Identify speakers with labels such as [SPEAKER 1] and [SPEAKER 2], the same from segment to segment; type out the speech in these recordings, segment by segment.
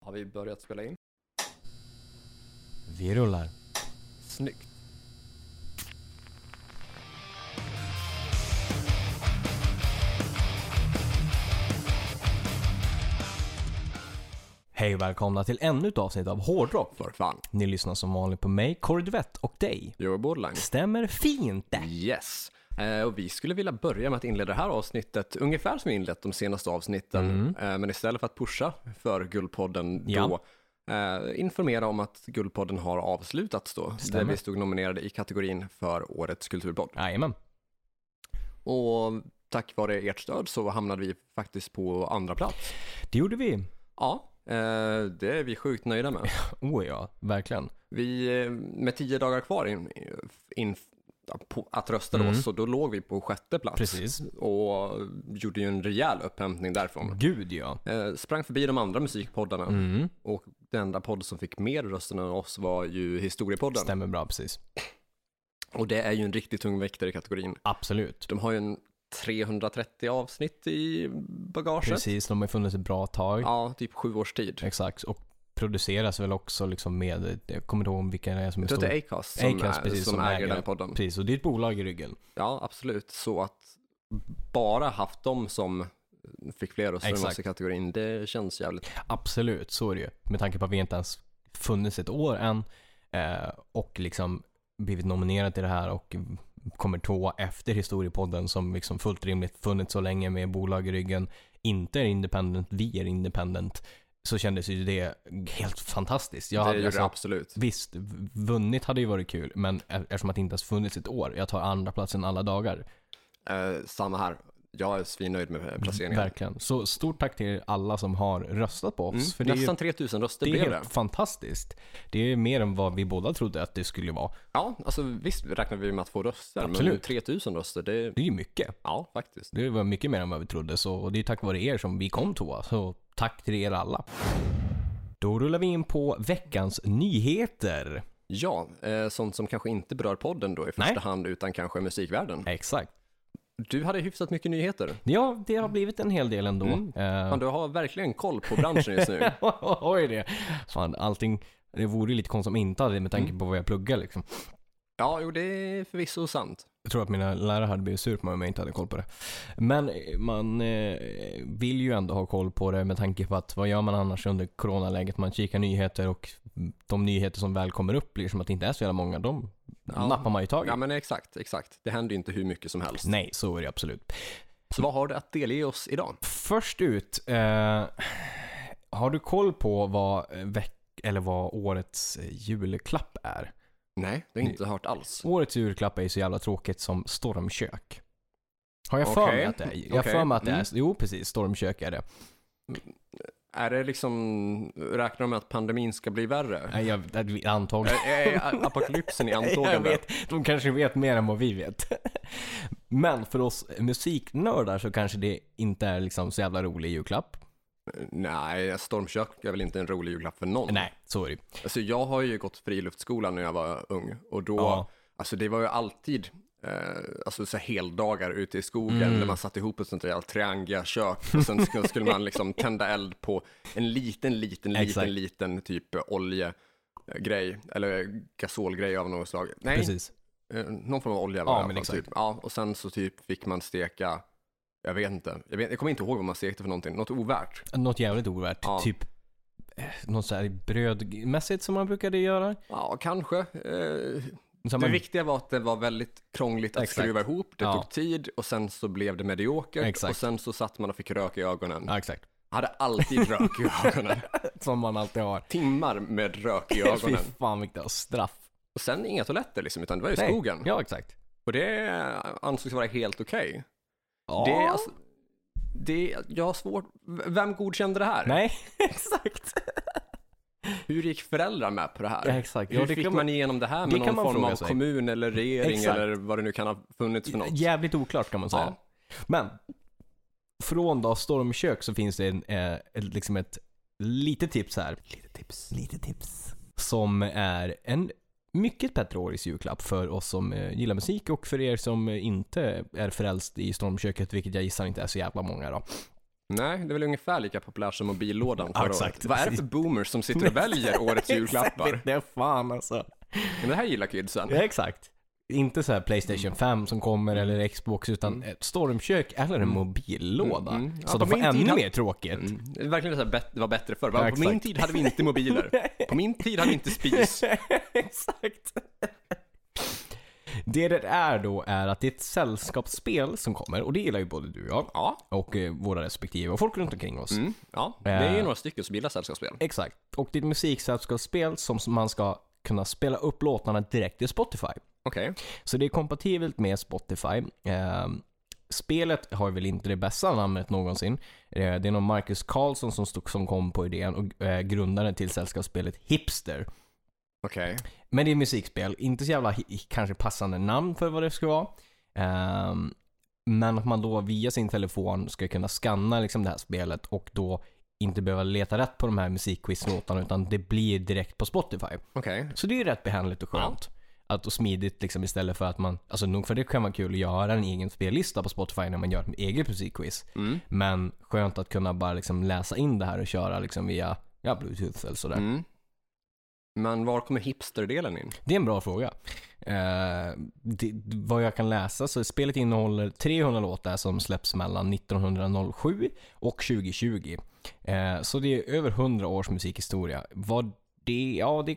[SPEAKER 1] Har vi börjat spela in?
[SPEAKER 2] Vi rullar.
[SPEAKER 1] Snyggt.
[SPEAKER 2] Hej och välkomna till ännu ett avsnitt av Hårdrock.
[SPEAKER 1] För fan.
[SPEAKER 2] Ni lyssnar som vanligt på mig, Kåre Duvett och dig.
[SPEAKER 1] You're borderline.
[SPEAKER 2] Stämmer fint det?
[SPEAKER 1] Yes. Eh, och vi skulle vilja börja med att inleda det här avsnittet ungefär som vi inlett de senaste avsnitten. Eh, men istället för att pusha för Guldpodden då eh, informera om att Guldpodden har avslutats då.
[SPEAKER 2] Stämmer.
[SPEAKER 1] Där vi stod nominerade i kategorin för årets kulturpodd.
[SPEAKER 2] Jajamän.
[SPEAKER 1] Och tack vare ert stöd så hamnade vi faktiskt på andra plats.
[SPEAKER 2] Det gjorde vi.
[SPEAKER 1] Ja, eh, det är vi sjukt nöjda med.
[SPEAKER 2] Oh ja, verkligen.
[SPEAKER 1] Vi, eh, med tio dagar kvar in, in, på att rösta då, så då låg vi på sjätte plats.
[SPEAKER 2] Mm. Precis.
[SPEAKER 1] Och gjorde ju en rejäl upphämtning därifrån.
[SPEAKER 2] Gud ja.
[SPEAKER 1] Eh, sprang förbi de andra musikpoddarna
[SPEAKER 2] Mm.
[SPEAKER 1] och den enda podd som fick mer röster än oss var ju Historiepodden.
[SPEAKER 2] Stämmer bra precis.
[SPEAKER 1] Och det är ju en riktig tungväktare i kategorin.
[SPEAKER 2] Absolut.
[SPEAKER 1] De har ju en 330 avsnitt i bagaget.
[SPEAKER 2] Precis, de har ju funnits ett bra tag.
[SPEAKER 1] Ja, typ sju års tid. Jag
[SPEAKER 2] Exakt. Och produceras väl också liksom med, jag kommer inte ihåg vilka det är som är
[SPEAKER 1] tror att det
[SPEAKER 2] stor.
[SPEAKER 1] är Acast som,
[SPEAKER 2] Acast,
[SPEAKER 1] är,
[SPEAKER 2] precis,
[SPEAKER 1] som,
[SPEAKER 2] som
[SPEAKER 1] äger,
[SPEAKER 2] äger
[SPEAKER 1] den podden.
[SPEAKER 2] Precis, och det är ett bolag i ryggen.
[SPEAKER 1] Ja, absolut. Så att bara haft dem som fick fler röster än oss
[SPEAKER 2] Exakt.
[SPEAKER 1] i kategorin, det känns jävligt.
[SPEAKER 2] Absolut, så är det ju. Med tanke på att vi inte ens funnits ett år än eh, och liksom blivit nominerad till det här och kommer tvåa efter historiepodden som liksom fullt rimligt funnits så länge med bolag i ryggen. Inte är independent, vi är independent. Så kändes ju det helt fantastiskt. Jag
[SPEAKER 1] det
[SPEAKER 2] hade
[SPEAKER 1] gjorde det
[SPEAKER 2] alltså,
[SPEAKER 1] absolut.
[SPEAKER 2] visst, v- vunnit hade ju varit kul, men e- eftersom att det inte ens funnits ett år, jag tar andra platsen alla dagar.
[SPEAKER 1] Eh, samma här. Jag är svinnöjd med placeringen.
[SPEAKER 2] Verkligen. Så stort tack till er alla som har röstat på oss.
[SPEAKER 1] Mm.
[SPEAKER 2] för det är ju-
[SPEAKER 1] Nästan 3000 röster
[SPEAKER 2] Det är
[SPEAKER 1] blev
[SPEAKER 2] helt
[SPEAKER 1] det.
[SPEAKER 2] fantastiskt. Det är mer än vad vi båda trodde att det skulle vara.
[SPEAKER 1] Ja, alltså visst räknar vi med att få röster, men
[SPEAKER 2] Absolut.
[SPEAKER 1] 3000 röster, det,
[SPEAKER 2] Det är ju mycket.
[SPEAKER 1] ja faktiskt.
[SPEAKER 2] Det var mycket mer än vad vi trodde, så och det är tack vare er som vi kom tvåa. Så tack till er alla. Då rullar vi in på veckans nyheter.
[SPEAKER 1] Ja, eh, sånt som kanske inte berör podden då i första
[SPEAKER 2] Nej.
[SPEAKER 1] hand, utan kanske musikvärlden.
[SPEAKER 2] Exakt.
[SPEAKER 1] Du hade hyfsat mycket nyheter.
[SPEAKER 2] Ja, det har blivit en hel del ändå.
[SPEAKER 1] Mm.
[SPEAKER 2] Eh,
[SPEAKER 1] Fan, du har verkligen koll på branschen just nu.
[SPEAKER 2] Oj det. Fan, allting. Det vore ju lite konstigt om jag inte hade det med tanke på vad jag pluggar liksom.
[SPEAKER 1] Ja, jo det är förvisso sant.
[SPEAKER 2] Jag tror att mina lärare hade blivit sur på mig om jag inte hade koll på det. Men eh, man eh, vill ju ändå ha koll på det med tanke på att vad gör man annars under coronaläget? Man kikar nyheter och de nyheter som väl kommer upp blir som att det inte är så jävla många. De
[SPEAKER 1] Ja.
[SPEAKER 2] nappar man ju tag i.
[SPEAKER 1] Ja, men exakt, exakt. Det händer ju inte hur mycket som helst.
[SPEAKER 2] Nej, så är det absolut.
[SPEAKER 1] Så vad har du att delge oss idag?
[SPEAKER 2] Först ut, eh, har du koll på vad, eh, veck eller vad årets eh, julklapp är?
[SPEAKER 1] Nej, det har jag inte hört alls.
[SPEAKER 2] Årets julklapp är ju så jävla tråkigt som stormkök. Har jag för
[SPEAKER 1] Okej.
[SPEAKER 2] mig att det är? Jag har
[SPEAKER 1] Okej.
[SPEAKER 2] för mig att det är.
[SPEAKER 1] Mm.
[SPEAKER 2] Jo, precis. Stormkök är det.
[SPEAKER 1] Är det liksom, räknar de med att pandemin ska bli värre?
[SPEAKER 2] Nej, jag, det- antagligen.
[SPEAKER 1] Är, är apokalypsen i
[SPEAKER 2] Jag
[SPEAKER 1] antågande?
[SPEAKER 2] vet, de kanske vet mer än vad vi vet. Men för oss musiknördar så kanske det inte är liksom så jävla rolig julklapp.
[SPEAKER 1] Nej, stormkök är väl inte en rolig julklapp för någon.
[SPEAKER 2] Nej, så är det ju.
[SPEAKER 1] Alltså jag har ju gått friluftsskola när jag var ung och då,
[SPEAKER 2] Ja.
[SPEAKER 1] alltså det var ju alltid Eh, alltså så här heldagar ute i skogen
[SPEAKER 2] Mm.
[SPEAKER 1] där man satt ihop ett sånt där jävla triangakök och sen sk- skulle man liksom tända eld på en liten, liten,
[SPEAKER 2] Exakt.
[SPEAKER 1] liten, liten typ oljegrej eller gasolgrej av något slag. Nej,
[SPEAKER 2] Precis.
[SPEAKER 1] eh, någon form av olja var
[SPEAKER 2] Ja,
[SPEAKER 1] det i alla
[SPEAKER 2] men
[SPEAKER 1] fall,
[SPEAKER 2] exakt.
[SPEAKER 1] typ. Ja, och sen så typ fick man steka, jag vet inte, jag, vet, jag kommer inte ihåg vad man stekte för någonting, något ovärt.
[SPEAKER 2] Något jävligt ovärt.
[SPEAKER 1] Ja.
[SPEAKER 2] Typ eh, något så här brödmässigt som man brukade göra.
[SPEAKER 1] Ja, kanske. Eh,
[SPEAKER 2] Så
[SPEAKER 1] Det
[SPEAKER 2] man,
[SPEAKER 1] viktiga var att det var väldigt krångligt att
[SPEAKER 2] Exakt.
[SPEAKER 1] skruva ihop, det
[SPEAKER 2] Ja.
[SPEAKER 1] tog tid och sen så blev det mediokert
[SPEAKER 2] Exakt.
[SPEAKER 1] och sen så satt man och fick rök i ögonen.
[SPEAKER 2] ja, exakt.
[SPEAKER 1] Hade alltid rök i ögonen.
[SPEAKER 2] Som man alltid har.
[SPEAKER 1] Timmar med rök i
[SPEAKER 2] Fy
[SPEAKER 1] ögonen.
[SPEAKER 2] fan vilka straff.
[SPEAKER 1] Och sen inga toaletter liksom, utan det var ju
[SPEAKER 2] Nej.
[SPEAKER 1] skogen.
[SPEAKER 2] Ja, exakt.
[SPEAKER 1] Och det ansågs vara helt okej.
[SPEAKER 2] Ja.
[SPEAKER 1] Det är alltså, det är, jag har svårt, v- vem godkände det här?
[SPEAKER 2] Nej, exakt.
[SPEAKER 1] Hur gick föräldrar med på det här?
[SPEAKER 2] Ja, exakt.
[SPEAKER 1] Hur
[SPEAKER 2] Ja, det
[SPEAKER 1] fick
[SPEAKER 2] kan
[SPEAKER 1] man
[SPEAKER 2] man-
[SPEAKER 1] igenom det här med
[SPEAKER 2] det kan
[SPEAKER 1] någon
[SPEAKER 2] man
[SPEAKER 1] form
[SPEAKER 2] fråga
[SPEAKER 1] av
[SPEAKER 2] sig.
[SPEAKER 1] kommun eller regering
[SPEAKER 2] Exakt.
[SPEAKER 1] eller vad det nu kan ha funnits för något?
[SPEAKER 2] Jävligt oklart kan man säga.
[SPEAKER 1] Ja.
[SPEAKER 2] Men från då stormkök så finns det en, eh, ett, liksom ett litet tips här. Lite tips. Lite tips. Som är en mycket petrorisk julklapp för oss som eh, gillar musik och för er som eh, inte är frälst i stormköket, vilket jag gissar inte är så jävla många då.
[SPEAKER 1] Nej, det är väl ungefär lika populärt som mobillådan
[SPEAKER 2] Ja,
[SPEAKER 1] förra
[SPEAKER 2] exakt.
[SPEAKER 1] året. Vad är det för boomers som sitter och väljer årets julklappar?
[SPEAKER 2] Det är fan alltså.
[SPEAKER 1] Men det här gillar kidsen.
[SPEAKER 2] Ja, exakt. Inte så här Playstation 5 som kommer eller Xbox utan ett stormkök eller en mobillåda.
[SPEAKER 1] Mm, mm. Ja,
[SPEAKER 2] så
[SPEAKER 1] på
[SPEAKER 2] de får
[SPEAKER 1] min
[SPEAKER 2] ännu
[SPEAKER 1] tid hade-
[SPEAKER 2] mer tråkigt.
[SPEAKER 1] Mm. Det är verkligen så här, bet- det var bättre förr.
[SPEAKER 2] Ja,
[SPEAKER 1] Bara, på min
[SPEAKER 2] exakt.
[SPEAKER 1] tid hade vi inte mobiler. På min tid hade vi inte spis.
[SPEAKER 2] Exakt. Det det är då är att det är ett sällskapsspel som kommer och det gillar ju både du och jag
[SPEAKER 1] Ja,
[SPEAKER 2] och eh, våra respektive och folk runt omkring oss.
[SPEAKER 1] mm, ja. det
[SPEAKER 2] Eh.
[SPEAKER 1] är ju några stycken som gillar sällskapsspel.
[SPEAKER 2] Exakt. Och det är ett musiksällskapsspel som som man ska kunna spela upp låtarna direkt i Spotify.
[SPEAKER 1] Okej.
[SPEAKER 2] Så det är kompatibelt med Spotify. Ehm, spelet har väl inte det bästa namnet någonsin. Eh, det är någon Marcus Karlsson som, stod, som kom på idén och eh, grundaren till sällskapsspelet Hipster.
[SPEAKER 1] Okej.
[SPEAKER 2] Men det är musikspel, inte så jävla hi- kanske passande namn för vad det ska vara. Ehm, men att man då via sin telefon ska kunna scanna liksom det här spelet och då inte behöva leta rätt på de här musikquizlåtarna utan det blir direkt på Spotify.
[SPEAKER 1] Okej.
[SPEAKER 2] Så det är ju rätt behändigt och skönt. Att, och smidigt liksom istället för att man, alltså nog för det kan vara kul att göra en egen spellista på Spotify när man gör ett eget musikquiz.
[SPEAKER 1] Mm.
[SPEAKER 2] Men skönt att kunna bara liksom läsa in det här och köra liksom via ja, bluetooth eller sådär.
[SPEAKER 1] Mm. Men var kommer hipsterdelen in?
[SPEAKER 2] Det är en bra fråga. Eh, det, vad jag kan läsa så spelet innehåller 300 låtar som släpps mellan 1907 och 2020. Eh, så det är över 100 års musikhistoria. Vad det, ja det,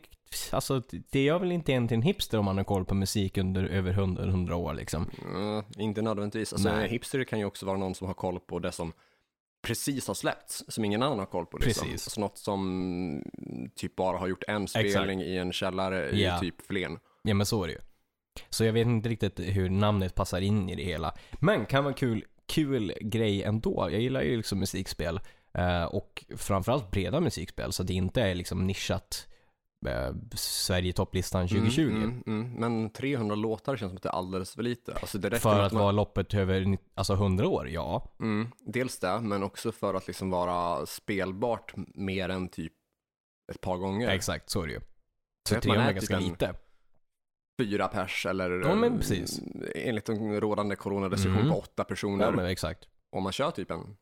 [SPEAKER 2] alltså det gör väl inte egentligen hipster om man har koll på musik under över 100, 100 år liksom.
[SPEAKER 1] Mm, inte nödvändigtvis. Alltså,
[SPEAKER 2] Nej.
[SPEAKER 1] en hipster kan ju också vara någon som har koll på det som precis har släppts, som ingen annan har koll på. Liksom.
[SPEAKER 2] Precis.
[SPEAKER 1] Så något som typ bara har gjort en spelning i en källare
[SPEAKER 2] Ja. Mm,
[SPEAKER 1] i typ Flen.
[SPEAKER 2] Ja men så är det ju. Så jag vet inte riktigt hur namnet passar in i det hela. Men kan vara kul, kul grej ändå. Jag gillar ju liksom musikspel. eh, Och framförallt breda musikspel så att det inte är liksom nischat eh, Sverige-topplistan 2020.
[SPEAKER 1] Mm, mm, mm. Men 300 låtar känns som att det är alldeles för lite. Alltså, det räcker
[SPEAKER 2] För
[SPEAKER 1] med
[SPEAKER 2] att
[SPEAKER 1] man-
[SPEAKER 2] vara loppet över ni- alltså 100 år, ja.
[SPEAKER 1] Mm, dels det, men också för att liksom vara spelbart mer än typ ett par gånger.
[SPEAKER 2] Exakt, så är det ju.
[SPEAKER 1] Jag
[SPEAKER 2] Så
[SPEAKER 1] vet, man
[SPEAKER 2] 300 är
[SPEAKER 1] är
[SPEAKER 2] ganska
[SPEAKER 1] typ en-
[SPEAKER 2] lite.
[SPEAKER 1] Fyra pers eller
[SPEAKER 2] Ja, men
[SPEAKER 1] eh,
[SPEAKER 2] precis.
[SPEAKER 1] enligt en rådande coronarestriktion
[SPEAKER 2] Mm.
[SPEAKER 1] på åtta personer.
[SPEAKER 2] Ja men exakt.
[SPEAKER 1] om man kör typ en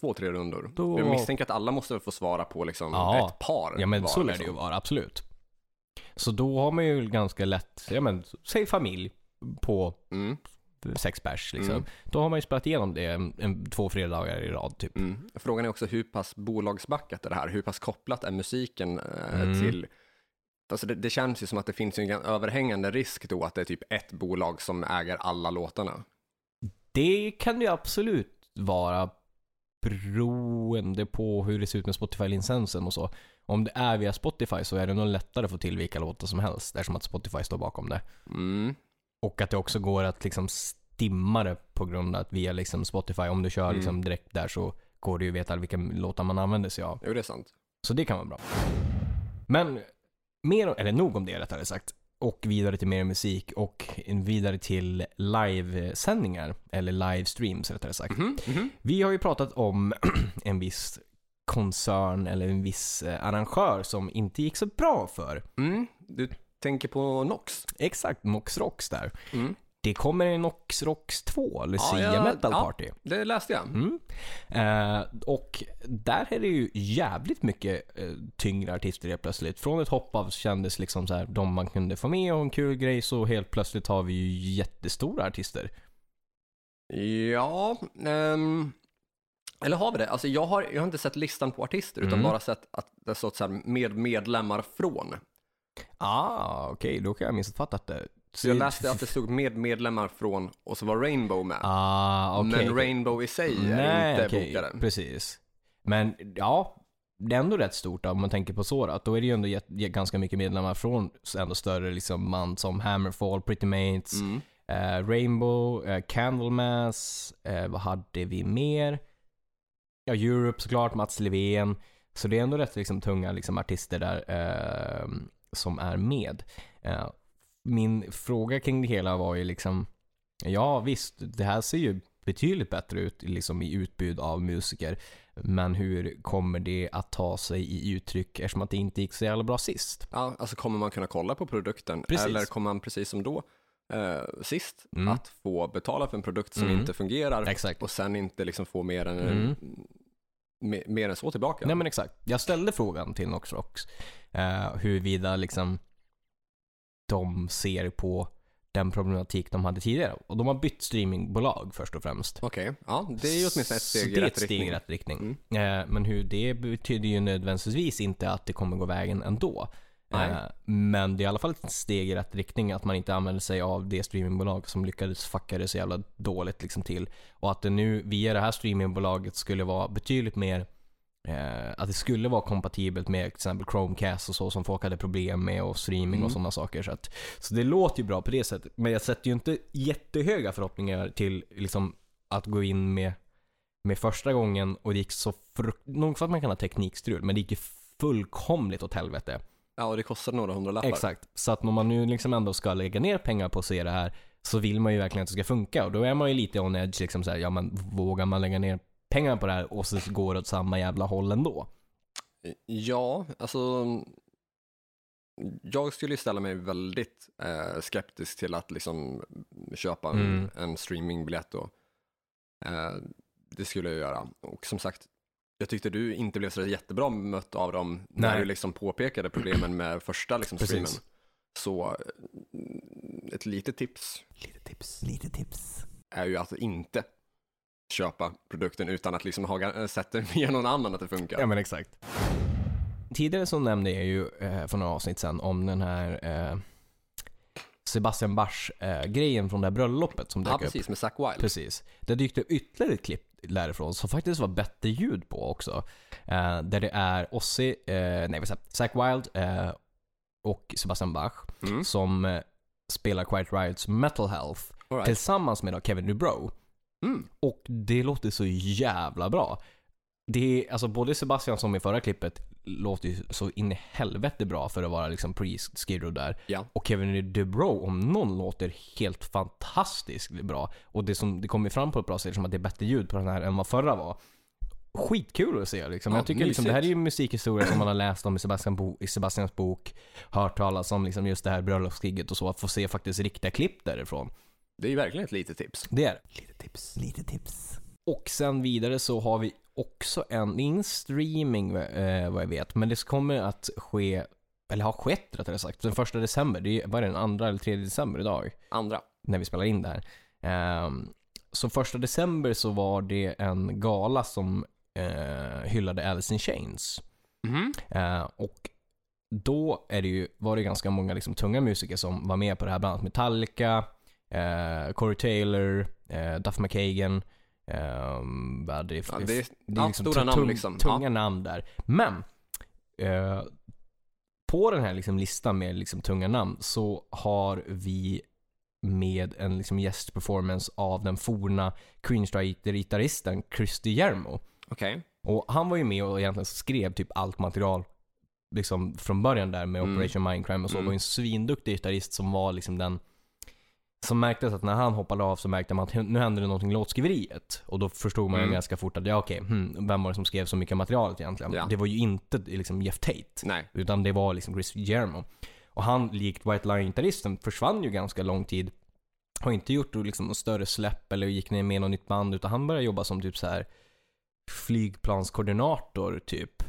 [SPEAKER 1] två, tre rundor.
[SPEAKER 2] Då-
[SPEAKER 1] Jag misstänker att alla måste få svara på liksom
[SPEAKER 2] Ja.
[SPEAKER 1] ett par.
[SPEAKER 2] Ja men
[SPEAKER 1] var,
[SPEAKER 2] så lär det
[SPEAKER 1] liksom.
[SPEAKER 2] ju vara, absolut. Så då har man ju ganska lätt, ja men säg familj på
[SPEAKER 1] Mm,
[SPEAKER 2] sex pers liksom.
[SPEAKER 1] Mm.
[SPEAKER 2] Då har man ju spelat igenom det en, en, två fredagar i rad typ.
[SPEAKER 1] mm. Frågan är också hur pass bolagsbackat är det här? Hur pass kopplat är musiken eh,
[SPEAKER 2] Mm.
[SPEAKER 1] till... Alltså det, det känns ju som att det finns ju en överhängande risk då att det är typ ett bolag som äger alla låtarna.
[SPEAKER 2] Det kan ju absolut vara beroende på hur det ser ut med Spotify-licensen och så. Om det är via Spotify så är det nog lättare att få till vilka låtar som helst eftersom att Spotify står bakom det.
[SPEAKER 1] Mm.
[SPEAKER 2] Och att det också går att liksom stimma det på grund av att via liksom Spotify, om du kör
[SPEAKER 1] Mm.
[SPEAKER 2] liksom direkt där så går det ju att veta vilka låtar man använder sig av.
[SPEAKER 1] Jo, det är sant.
[SPEAKER 2] Så det kan vara bra. Men mer, eller nog om det rättare sagt. Och vidare till mer musik och vidare till livesändningar. Eller livestreams rättare sagt.
[SPEAKER 1] Mhm, mhm.
[SPEAKER 2] Vi har ju pratat om en viss koncern eller en viss eh, arrangör som inte gick så bra för.
[SPEAKER 1] Mm. Du tänker på Nox?
[SPEAKER 2] Exakt, Nox Rocks där.
[SPEAKER 1] Mm.
[SPEAKER 2] Det kommer en Nox Rocks 2, Lucia
[SPEAKER 1] ja,
[SPEAKER 2] Metal
[SPEAKER 1] ja.
[SPEAKER 2] Party.
[SPEAKER 1] Det läste jag.
[SPEAKER 2] Mm. Eh, och där är det ju jävligt mycket eh, tyngre artister helt plötsligt. Från ett hopp av kändes liksom så här, de man kunde få med och en kul grej så helt plötsligt har vi ju jättestora artister.
[SPEAKER 1] Ja, ehm, eller har vi det? Alltså jag har, jag har inte sett listan på artister utan
[SPEAKER 2] Mm.
[SPEAKER 1] bara sett att det står så här med medlemmar från.
[SPEAKER 2] Ah, okej, då kan jag ha missuppfattat det.
[SPEAKER 1] Så jag läste att det stod med medlemmar från och så var Rainbow med.
[SPEAKER 2] Ah, okej.
[SPEAKER 1] Men Rainbow i sig är
[SPEAKER 2] Nej,
[SPEAKER 1] inte
[SPEAKER 2] okej,
[SPEAKER 1] bokade.
[SPEAKER 2] Precis. Men ja, det är ändå rätt stort då, om man tänker på så. Då, att då är det ju ändå jätt- ganska mycket medlemmar från ändå större liksom, man som Hammerfall, Pretty Mates,
[SPEAKER 1] Mm.
[SPEAKER 2] Eh, Rainbow, eh, Candlemass, eh, vad hade vi mer? Ja, Europe såklart, Mats Levén. Så det är ändå rätt liksom, tunga liksom, artister där eh, som är med. Eh, min fråga kring det hela var ju liksom, ja visst, det här ser ju betydligt bättre ut liksom, i utbud av musiker. Men hur kommer det att ta sig i uttryck eftersom att det inte gick så jävla bra sist?
[SPEAKER 1] Ja, alltså kommer man kunna kolla på produkten
[SPEAKER 2] Precis.
[SPEAKER 1] eller kommer man precis som då eh, sist
[SPEAKER 2] Mm.
[SPEAKER 1] att få betala för en produkt som
[SPEAKER 2] Mm.
[SPEAKER 1] inte fungerar
[SPEAKER 2] Exakt.
[SPEAKER 1] och sen inte liksom få mer än
[SPEAKER 2] Mm.
[SPEAKER 1] me- mer än så tillbaka.
[SPEAKER 2] Nej men exakt. Jag ställde frågan till Nox Rocks eh, huruvida liksom de ser på den problematik de hade tidigare. Och de har bytt streamingbolag först och främst.
[SPEAKER 1] Okej, ja, det är ju åtminstone ett steg
[SPEAKER 2] Så
[SPEAKER 1] i
[SPEAKER 2] det är ett
[SPEAKER 1] rätt
[SPEAKER 2] steg
[SPEAKER 1] riktning. Mm.
[SPEAKER 2] i rätt riktning. Eh, men hur det betyder ju nödvändigtvis inte att det kommer gå vägen ändå.
[SPEAKER 1] Nej.
[SPEAKER 2] Eh, men det är i alla fall ett steg i rätt riktning att man inte använder sig av det streamingbolag som lyckades fucka det så jävla dåligt liksom till. Och att det nu via det här streamingbolaget skulle vara betydligt mer eh, att det skulle vara kompatibelt med till exempel Chromecast och så som folk hade problem med och streaming och sådana saker. Så, att, så det låter ju bra på det sättet. Men jag sätter ju inte jättehöga förhoppningar till liksom, att gå in med med första gången och det gick så frukt... Nog för att man kan ha teknikstrul, men det gick ju fullkomligt åt helvete.
[SPEAKER 1] Ja, och det kostar några hundralappar.
[SPEAKER 2] Exakt. Så att när man nu liksom ändå ska lägga ner pengar på att se det här så vill man ju verkligen att det ska funka och då är man ju lite on edge liksom så här, ja men vågar man lägga ner pengar på det här och så går det åt samma jävla håll ändå?
[SPEAKER 1] Ja, alltså jag skulle ju ställa mig väldigt eh, skeptisk till att liksom köpa en,
[SPEAKER 2] Mm.
[SPEAKER 1] en streamingbiljett då. Eh, det skulle jag göra. Och som sagt, jag tyckte du inte blev så jättebra mött av dem när
[SPEAKER 2] Nej.
[SPEAKER 1] du liksom påpekade problemen med första liksom,
[SPEAKER 2] Precis.
[SPEAKER 1] streamen. Så eh, ett litet tips
[SPEAKER 2] Lite tips. Lite tips.
[SPEAKER 1] är ju att inte köpa produkten utan att liksom ha gar- sett det via någon annan att det funkar.
[SPEAKER 2] Ja men exakt. Tidigare så nämnde jag ju eh, för några avsnitt sedan om den här eh, Sebastian Bach eh, grejen från det här bröllopet som dök
[SPEAKER 1] Ja,
[SPEAKER 2] upp.
[SPEAKER 1] precis, med Zack Wilde.
[SPEAKER 2] Precis. Det dykte upp ytterligare ett klipp därifrån som faktiskt var bättre ljud på också. Eh, där det är Ozzy, eh, nej vad säger jag, Zack Wilde eh, och Sebastian Bach
[SPEAKER 1] Mm.
[SPEAKER 2] som eh, spelar Quiet Riots Metal Health
[SPEAKER 1] All right.
[SPEAKER 2] tillsammans med då Kevin Dubrow.
[SPEAKER 1] Mm.
[SPEAKER 2] Och det låter så jävla bra. Det är, alltså både Sebastian som i förra klippet låter ju så in i helvete bra för att vara liksom pre-Skid Row där.
[SPEAKER 1] Ja.
[SPEAKER 2] Och Kevin Dubrow om någon låter helt fantastiskt bra. Och det som det kommer fram på ett bra sätt är som att det är bättre ljud på den här än vad förra var. Skitkul att se liksom.
[SPEAKER 1] Ja,
[SPEAKER 2] Jag tycker liksom,
[SPEAKER 1] mysigt.
[SPEAKER 2] det här är ju musikhistoria som man har läst om i, Sebastian bo- i Sebastians bok. Hört talas om liksom just det här bröllopskriget och så. Att få se faktiskt riktiga klipp därifrån.
[SPEAKER 1] Det är ju verkligen ett litet tips.
[SPEAKER 2] Det är det. Lite tips. Lite tips. Och sen vidare så har vi också en, det är ingen streaming eh, vad jag vet, men det kommer att ske, eller har skett rättare sagt, den första december. Det är, vad är det, den andra eller tredje december idag?
[SPEAKER 1] Andra.
[SPEAKER 2] när vi spelar in det här. Ehm, så första december så var det en gala som eh, hyllade Alice in Chains. Eh, och då är det ju, var det ganska många liksom, tunga musiker som var med på det här, bland annat Metallica, eh, Corey Taylor, eh, Duff McKagan. ehm, vad det,
[SPEAKER 1] Ja, det är,
[SPEAKER 2] det är
[SPEAKER 1] ja,
[SPEAKER 2] liksom
[SPEAKER 1] stora
[SPEAKER 2] tung-
[SPEAKER 1] namn
[SPEAKER 2] tung-
[SPEAKER 1] liksom.
[SPEAKER 2] Tunga
[SPEAKER 1] Ja.
[SPEAKER 2] namn där. Men eh, på den här liksom listan med liksom tunga namn så har vi med en liksom gästperformance av den forna Queenstrike-gitarristen Christy Jermo.
[SPEAKER 1] Okej.
[SPEAKER 2] Och han var ju med och egentligen skrev typ allt material liksom från början där med
[SPEAKER 1] Mm.
[SPEAKER 2] Operation Mindcrime och så.
[SPEAKER 1] Mm.
[SPEAKER 2] var ju en svinduktig gitarrist som var liksom den som märktes att när han hoppade av så märkte man att nu hände det någonting i låtskriveriet. Och då förstod man ju
[SPEAKER 1] Mm.
[SPEAKER 2] ganska fort att ja okej, hmm, vem var det som skrev så mycket materialet egentligen?
[SPEAKER 1] Ja.
[SPEAKER 2] Det var ju inte liksom Jeff Tate.
[SPEAKER 1] Nej.
[SPEAKER 2] Utan det var liksom Chris Jermo. Och han, likt White Lion-gitarristen, försvann ju ganska lång tid. Har inte gjort liksom, något större släpp eller gick ner med något nytt band, utan han började jobba som typ så här flygplanskoordinator typ.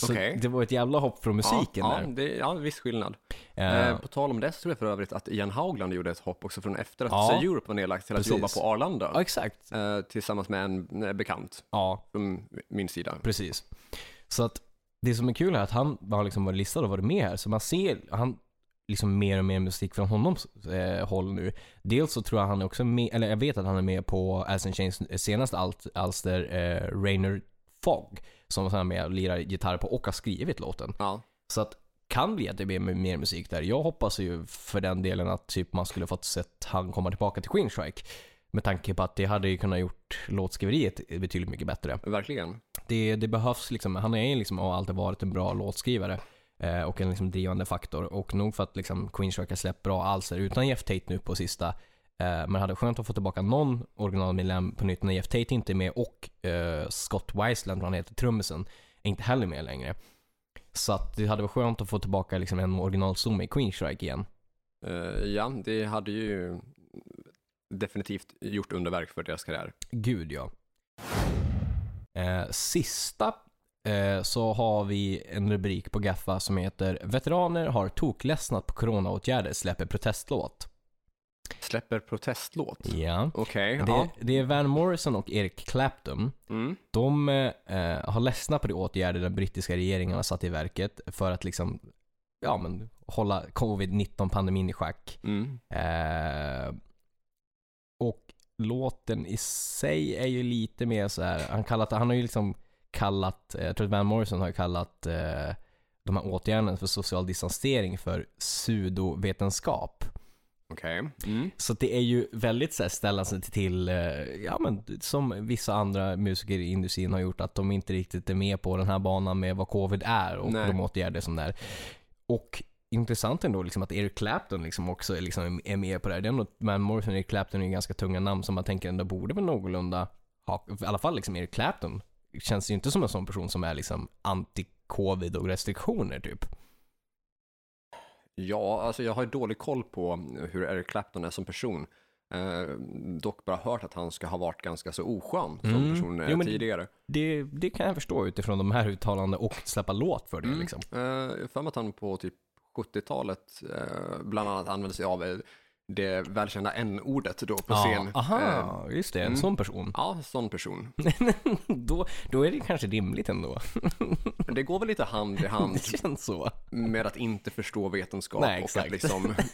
[SPEAKER 2] Så
[SPEAKER 1] Okej.
[SPEAKER 2] det var ett jävla hopp från musiken
[SPEAKER 1] ja,
[SPEAKER 2] där.
[SPEAKER 1] Ja, det, ja, viss skillnad.
[SPEAKER 2] Eh,
[SPEAKER 1] Eh, på tal om det så tror jag för övrigt att Ian Haugland gjorde ett hopp också från efter att
[SPEAKER 2] Ja.
[SPEAKER 1] ja. Europe var nedlagt till att
[SPEAKER 2] Precis.
[SPEAKER 1] jobba på Arlanda.
[SPEAKER 2] ja, exakt.
[SPEAKER 1] Eh, tillsammans med en eh, bekant
[SPEAKER 2] Ja,
[SPEAKER 1] från min sida.
[SPEAKER 2] Precis. Så att det som är kul är att han har liksom varit listad och varit med här, så man ser han liksom mer och mer musik från honoms eh, håll nu. Dels så tror jag han är också med, eller jag vet att han är med på Alice in Chains eh, senaste alt, alster, eh, Rainer Fogg, som han är med och lirar gitarr på och har skrivit låten.
[SPEAKER 1] Ja.
[SPEAKER 2] Så att kan bli att det blir mer musik där. Jag hoppas ju för den delen att typ man skulle fått sett han komma tillbaka till Queenstrike. Med tanke på att det hade ju kunnat gjort låtskriveriet betydligt mycket bättre
[SPEAKER 1] Verkligen.
[SPEAKER 2] det, det behövs liksom. Han är ju liksom och har alltid varit en bra låtskrivare eh, och en liksom drivande faktor. Och nog för att liksom Queens Rock har släppt bra alster utan Jeff Tate nu på sista. Eh, men det hade skönt att få tillbaka någon originalmedlem på nytt när Jeff Tate inte är med och eh, Scott Wiseland, vad han heter, trummisen, är inte heller med längre. Så att det hade varit skönt att få tillbaka liksom en originalstomme i Queens Rock igen.
[SPEAKER 1] Eh, ja, det hade ju definitivt gjort underverk för deras karriär.
[SPEAKER 2] Gud ja. Eh, sista eh, så har vi en rubrik på Gaffa som heter “Veteraner har tokledsnat på coronaåtgärder, släpper protestlåt”.
[SPEAKER 1] Släpper protestlåt.
[SPEAKER 2] Ja.
[SPEAKER 1] Okej, ja.
[SPEAKER 2] Det, det är Van Morrison och Eric Clapton.
[SPEAKER 1] Mm.
[SPEAKER 2] De eh, har ledsnat på de åtgärder den brittiska regeringen har satt i verket för att liksom, ja, men, hålla covid-19-pandemin i schack.
[SPEAKER 1] Mm.
[SPEAKER 2] Eh, och låten i sig är ju lite mer så här, han, kallat, han har ju liksom kallat, eh, jag tror att Van Morrison har ju kallat eh, de här åtgärderna för social distansering för pseudovetenskap.
[SPEAKER 1] Okej. Mm.
[SPEAKER 2] Så att det är ju väldigt så här, ställa sig till, eh, ja men som vissa andra musiker i industrin har gjort, att de inte riktigt är med på den här banan med vad covid är och
[SPEAKER 1] Nej.
[SPEAKER 2] de åtgärder som det är. Och intressant ändå liksom att Eric Clapton liksom också är, liksom, är med på det här. Det är ändå, Van Morrison och Eric Clapton är ju ganska tunga namn som man tänker ändå borde väl någorlunda ha, i alla fall liksom Eric Clapton känns ju inte som en sån person som är liksom anti-covid och restriktioner typ.
[SPEAKER 1] Ja, alltså jag har dålig koll på hur Eric Clapton är som person. Eh, dock bara hört att han ska ha varit ganska så oskön som
[SPEAKER 2] Mm.
[SPEAKER 1] person eh,
[SPEAKER 2] Jo, men-
[SPEAKER 1] tidigare.
[SPEAKER 2] Det, det kan jag förstå utifrån de här uttalandena och släppa låt för det
[SPEAKER 1] Mm.
[SPEAKER 2] liksom.
[SPEAKER 1] Eh, Jag har för mig att han på typ 70-talet eh, bland annat använde sig av eh, det välkända n-ordet då på scen. Eh,
[SPEAKER 2] Aha, just det. En
[SPEAKER 1] mm.
[SPEAKER 2] sån person.
[SPEAKER 1] Ja, sån person.
[SPEAKER 2] då, då är det kanske rimligt ändå.
[SPEAKER 1] Men Det går väl lite hand i hand
[SPEAKER 2] Det känns så.
[SPEAKER 1] med att inte förstå vetenskap
[SPEAKER 2] Nej,
[SPEAKER 1] och
[SPEAKER 2] exakt.
[SPEAKER 1] att liksom...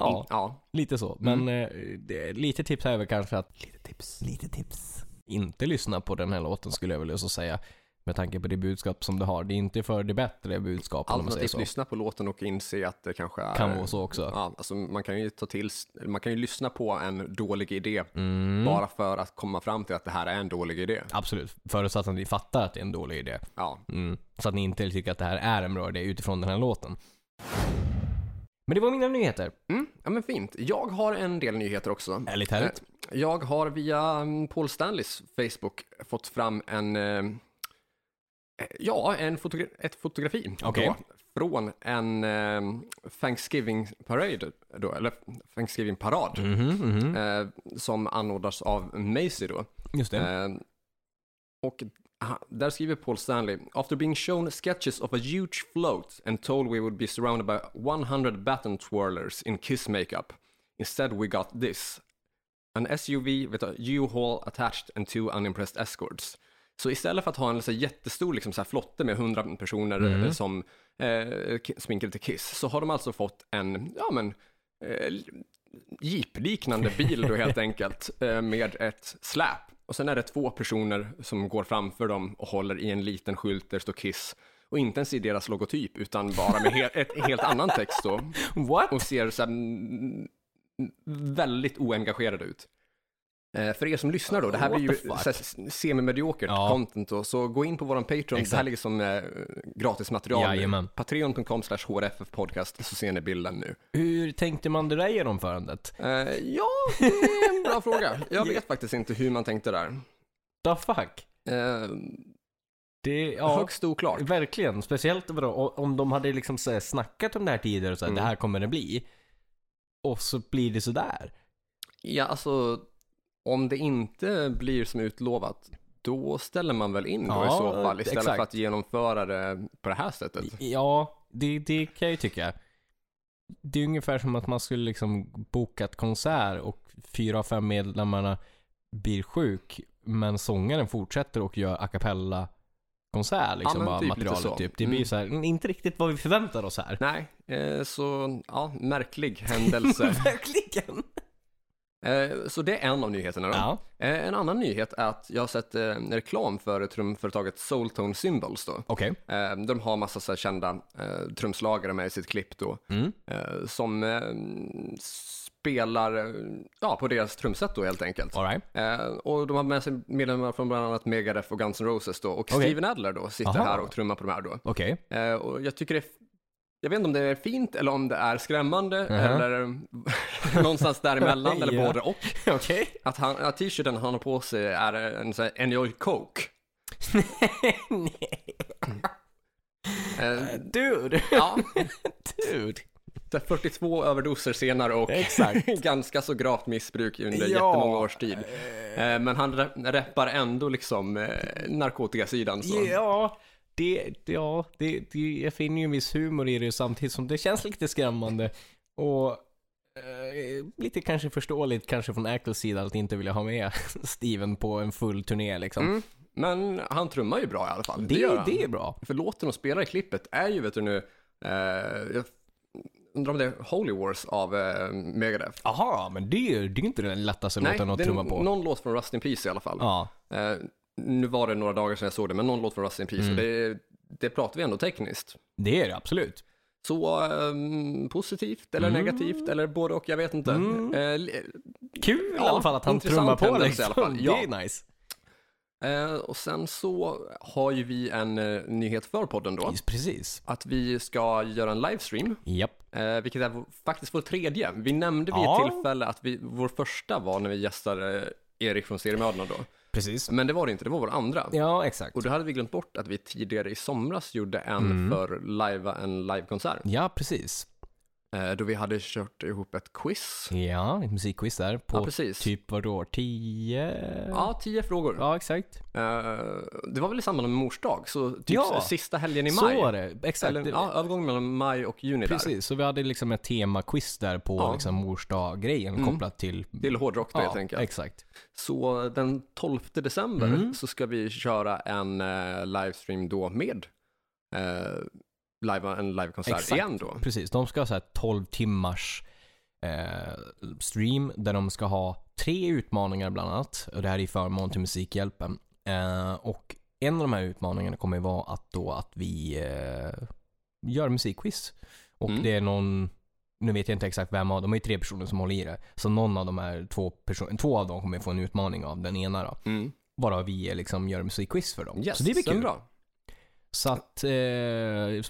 [SPEAKER 2] Ja,
[SPEAKER 1] ja.
[SPEAKER 2] lite så. Men
[SPEAKER 1] Mm.
[SPEAKER 2] eh, det, lite tips här är väl kanske att... Lite tips. Lite tips. Inte lyssna på den här låten skulle jag vilja så säga. Med tanke på det budskap som du har. Det är inte för det bättre budskap om man säger
[SPEAKER 1] Alternativt
[SPEAKER 2] så.
[SPEAKER 1] lyssna på låten och inse att det kanske är...
[SPEAKER 2] Kan vara så också.
[SPEAKER 1] Ja, alltså man kan ju ta till, man kan ju lyssna på en dålig idé
[SPEAKER 2] Mm.
[SPEAKER 1] bara för att komma fram till att det här är en dålig idé.
[SPEAKER 2] Absolut. Förutsatt att ni fattar att det är en dålig idé.
[SPEAKER 1] Ja,
[SPEAKER 2] Mm. Så att ni inte tycker att det här är en bra idé utifrån den här låten. Men det var mina nyheter.
[SPEAKER 1] mm, ja men fint. Jag har en del nyheter också.
[SPEAKER 2] Ärligt härligt.
[SPEAKER 1] Eh, Jag har via mm, Paul Stanleys Facebook fått fram en, eh, ja, en fotogra- ett fotografi
[SPEAKER 2] Okej.
[SPEAKER 1] då, från en eh, Thanksgiving-parade, då, eller Thanksgiving-parad,
[SPEAKER 2] Mhm, mhm.
[SPEAKER 1] eh, som anordnas av Macy då.
[SPEAKER 2] Just det.
[SPEAKER 1] Eh, och aha, där skriver Paul Stanley, after being shown sketches of a huge float and told we would be surrounded by 100 baton twirlers in kiss makeup, instead we got this. An SUV with a U-haul attached and two unimpressed escorts. Så istället för att ha en så här jättestor liksom så här flotte med 100 personer
[SPEAKER 2] Mm.
[SPEAKER 1] eh, som eh, ki- sminkar till Kiss, så har de alltså fått en, ja men, eh, jeepliknande bil då helt enkelt eh, med ett släp. Och sen är det två personer som går framför dem och håller i en liten skylt där det står Kiss. Och inte ens i deras logotyp utan bara med he- ett helt annan text då.
[SPEAKER 2] What?
[SPEAKER 1] Och ser så här, mm, väldigt oengagerade ut. Eh, för er som lyssnar då, det här
[SPEAKER 2] What
[SPEAKER 1] blir ju
[SPEAKER 2] the fuck?
[SPEAKER 1] så här s- semimediokert
[SPEAKER 2] Ja.
[SPEAKER 1] content då, så gå in på våran Patreon, det här
[SPEAKER 2] Exakt.
[SPEAKER 1] ligger som eh, gratismaterial nu.
[SPEAKER 2] Jajamän.
[SPEAKER 1] Patreon.com slash hrffpodcast så ser ni bilden nu.
[SPEAKER 2] Hur tänkte man det där genomförandet?
[SPEAKER 1] Eh, ja, det är en bra fråga. Jag vet faktiskt inte hur man tänkte där.
[SPEAKER 2] The fuck?
[SPEAKER 1] Eh,
[SPEAKER 2] Det, ja,
[SPEAKER 1] Högst oklart.
[SPEAKER 2] verkligen. Speciellt bra. Och om de hade liksom så här snackat om det här tidigare och så här,
[SPEAKER 1] Mm.
[SPEAKER 2] det här kommer det bli. Och så blir det sådär.
[SPEAKER 1] Ja, alltså om det inte blir som utlovat, då ställer man väl in då i
[SPEAKER 2] Ja,
[SPEAKER 1] så fall istället
[SPEAKER 2] exakt.
[SPEAKER 1] för att genomföra det på det här sättet.
[SPEAKER 2] Typ. Ja, det, det kan jag ju tycka. Det är ungefär som att man skulle liksom boka ett konsert och fyra av fem medlemmarna blir sjuk, men sångaren fortsätter och gör a cappella-konsert. Liksom
[SPEAKER 1] men
[SPEAKER 2] bara
[SPEAKER 1] typ lite så.
[SPEAKER 2] materialet typ. Det
[SPEAKER 1] Mm.
[SPEAKER 2] blir ju så här, "Mm, inte riktigt vad vi förväntar oss här.
[SPEAKER 1] Nej, eh, så ja, märklig händelse.
[SPEAKER 2] Verkligen!
[SPEAKER 1] eh, så det är en av nyheterna då.
[SPEAKER 2] Ja.
[SPEAKER 1] Eh, en annan nyhet är att jag har sett eh, reklam för trumföretaget Soultone Symbols då.
[SPEAKER 2] Okej.
[SPEAKER 1] Eh, de har massa så här kända eh, trumslagare med i sitt klipp då.
[SPEAKER 2] Mm.
[SPEAKER 1] eh, som eh, spelar eh, ja, på deras trumset då helt enkelt.
[SPEAKER 2] All right.
[SPEAKER 1] Eh, och de har med sig medlemmar från bland annat Megadeth och Guns N' Roses då. Och
[SPEAKER 2] Okej.
[SPEAKER 1] Steven Adler då sitter
[SPEAKER 2] Aha.
[SPEAKER 1] här och trummar på de här då.
[SPEAKER 2] Okej.
[SPEAKER 1] Eh, och jag tycker det är, jag vet inte om det är fint eller om det är skrämmande
[SPEAKER 2] Mhm.
[SPEAKER 1] eller någonstans däremellan eller
[SPEAKER 2] Ja.
[SPEAKER 1] både och.
[SPEAKER 2] Okej.
[SPEAKER 1] Att, han, att t-shirten han har på sig är en sån här Enjoy Coke.
[SPEAKER 2] Nej.
[SPEAKER 1] Eh,
[SPEAKER 2] Dude.
[SPEAKER 1] ja,
[SPEAKER 2] Dude.
[SPEAKER 1] 42 överdoser senare och
[SPEAKER 2] Exakt.
[SPEAKER 1] ganska så gravt missbruk under
[SPEAKER 2] Eh. Ja.
[SPEAKER 1] jättemånga års tid. Eh, Men han re- reppar ändå liksom eh, narkotikasidan. Så.
[SPEAKER 2] Ja, det, det- ja det, det, jag finner ju en viss humor i det samtidigt som det känns lite skrämmande. Och eh, lite kanske förståeligt kanske från Ackles sida att inte vilja ha med Steven på en full turné liksom.
[SPEAKER 1] Mm. Men han trummar ju bra i alla fall.
[SPEAKER 2] det,
[SPEAKER 1] gör
[SPEAKER 2] det,
[SPEAKER 1] han.
[SPEAKER 2] är bra.
[SPEAKER 1] För låten de spelar i klippet är ju, vet du nu, eh, jag undrar om det är Holy Wars av eh, Megadeth.
[SPEAKER 2] Jaha, men det är ju det är ju inte den lättaste låten att
[SPEAKER 1] det är
[SPEAKER 2] trumma på.
[SPEAKER 1] någon låt från Rust in Peace i alla fall.
[SPEAKER 2] Ja,
[SPEAKER 1] Eh, nu var det några dagar sedan jag såg det, men någon låt från Rust in Peace.
[SPEAKER 2] Mm.
[SPEAKER 1] Och det, det pratar vi ändå tekniskt.
[SPEAKER 2] det är det absolut.
[SPEAKER 1] Så ehm, positivt eller
[SPEAKER 2] Mm.
[SPEAKER 1] negativt eller både och, jag vet inte. Eh, li-
[SPEAKER 2] Kul
[SPEAKER 1] Ja,
[SPEAKER 2] i alla fall att han
[SPEAKER 1] intressant
[SPEAKER 2] trummar på
[SPEAKER 1] händelse i
[SPEAKER 2] liksom.
[SPEAKER 1] alla fall, ja.
[SPEAKER 2] Det är nice.
[SPEAKER 1] eh, och sen så har ju vi en eh, nyhet för podden då.
[SPEAKER 2] Precis.
[SPEAKER 1] Att vi ska göra en livestream,
[SPEAKER 2] Japp.
[SPEAKER 1] eh, vilket är vår- faktiskt vår tredje. Vi nämnde vid
[SPEAKER 2] Ja.
[SPEAKER 1] ett tillfälle att vi, vår första var när vi gästade Erik från Seriemördarna då.
[SPEAKER 2] Precis.
[SPEAKER 1] Men det var det inte, det var vår andra.
[SPEAKER 2] Ja, exakt.
[SPEAKER 1] Och då hade vi glömt bort att vi tidigare i somras gjorde en
[SPEAKER 2] Mm.
[SPEAKER 1] för live, en livekonsert.
[SPEAKER 2] Ja, precis.
[SPEAKER 1] Eh, då vi hade kört ihop ett quiz.
[SPEAKER 2] Ja, ett musikquiz där på
[SPEAKER 1] Ja, precis.
[SPEAKER 2] typ vadå, 10?
[SPEAKER 1] Ja, tio frågor.
[SPEAKER 2] Ja, exakt.
[SPEAKER 1] Eh, det var väl i samband med mors dag, så typ
[SPEAKER 2] Ja.
[SPEAKER 1] sista helgen i maj.
[SPEAKER 2] Så var det, exakt.
[SPEAKER 1] Eller,
[SPEAKER 2] Det-
[SPEAKER 1] ja, övergången mellan maj och juni där.
[SPEAKER 2] Precis, så vi hade liksom ett temaquiz där på
[SPEAKER 1] Ja. Mm.
[SPEAKER 2] liksom morsdag-grejen kopplat till...
[SPEAKER 1] Till hårdrock då helt enkelt.
[SPEAKER 2] exakt.
[SPEAKER 1] Så den 12 december
[SPEAKER 2] Mm.
[SPEAKER 1] så ska vi köra en eh, livestream då med eh, live, en livekonsert
[SPEAKER 2] Exakt.
[SPEAKER 1] igen då.
[SPEAKER 2] Precis, de ska ha så här 12 timmars eh, stream där de ska ha tre utmaningar bland annat. Och det här är i förmån till Musikhjälpen. Eh, och en av de här utmaningarna kommer ju vara att då att vi eh, gör musikquiz. Och
[SPEAKER 1] Mm.
[SPEAKER 2] det är någon, nu vet jag inte exakt vem av, de är ju tre personer som håller i det. Så någon av de här två personerna, två av dem kommer få en utmaning av den ena då.
[SPEAKER 1] Mm.
[SPEAKER 2] Bara vi eh, liksom gör musikquiz för dem.
[SPEAKER 1] Yes,
[SPEAKER 2] så det blir
[SPEAKER 1] sen
[SPEAKER 2] kul.
[SPEAKER 1] Bra.
[SPEAKER 2] Så att eh,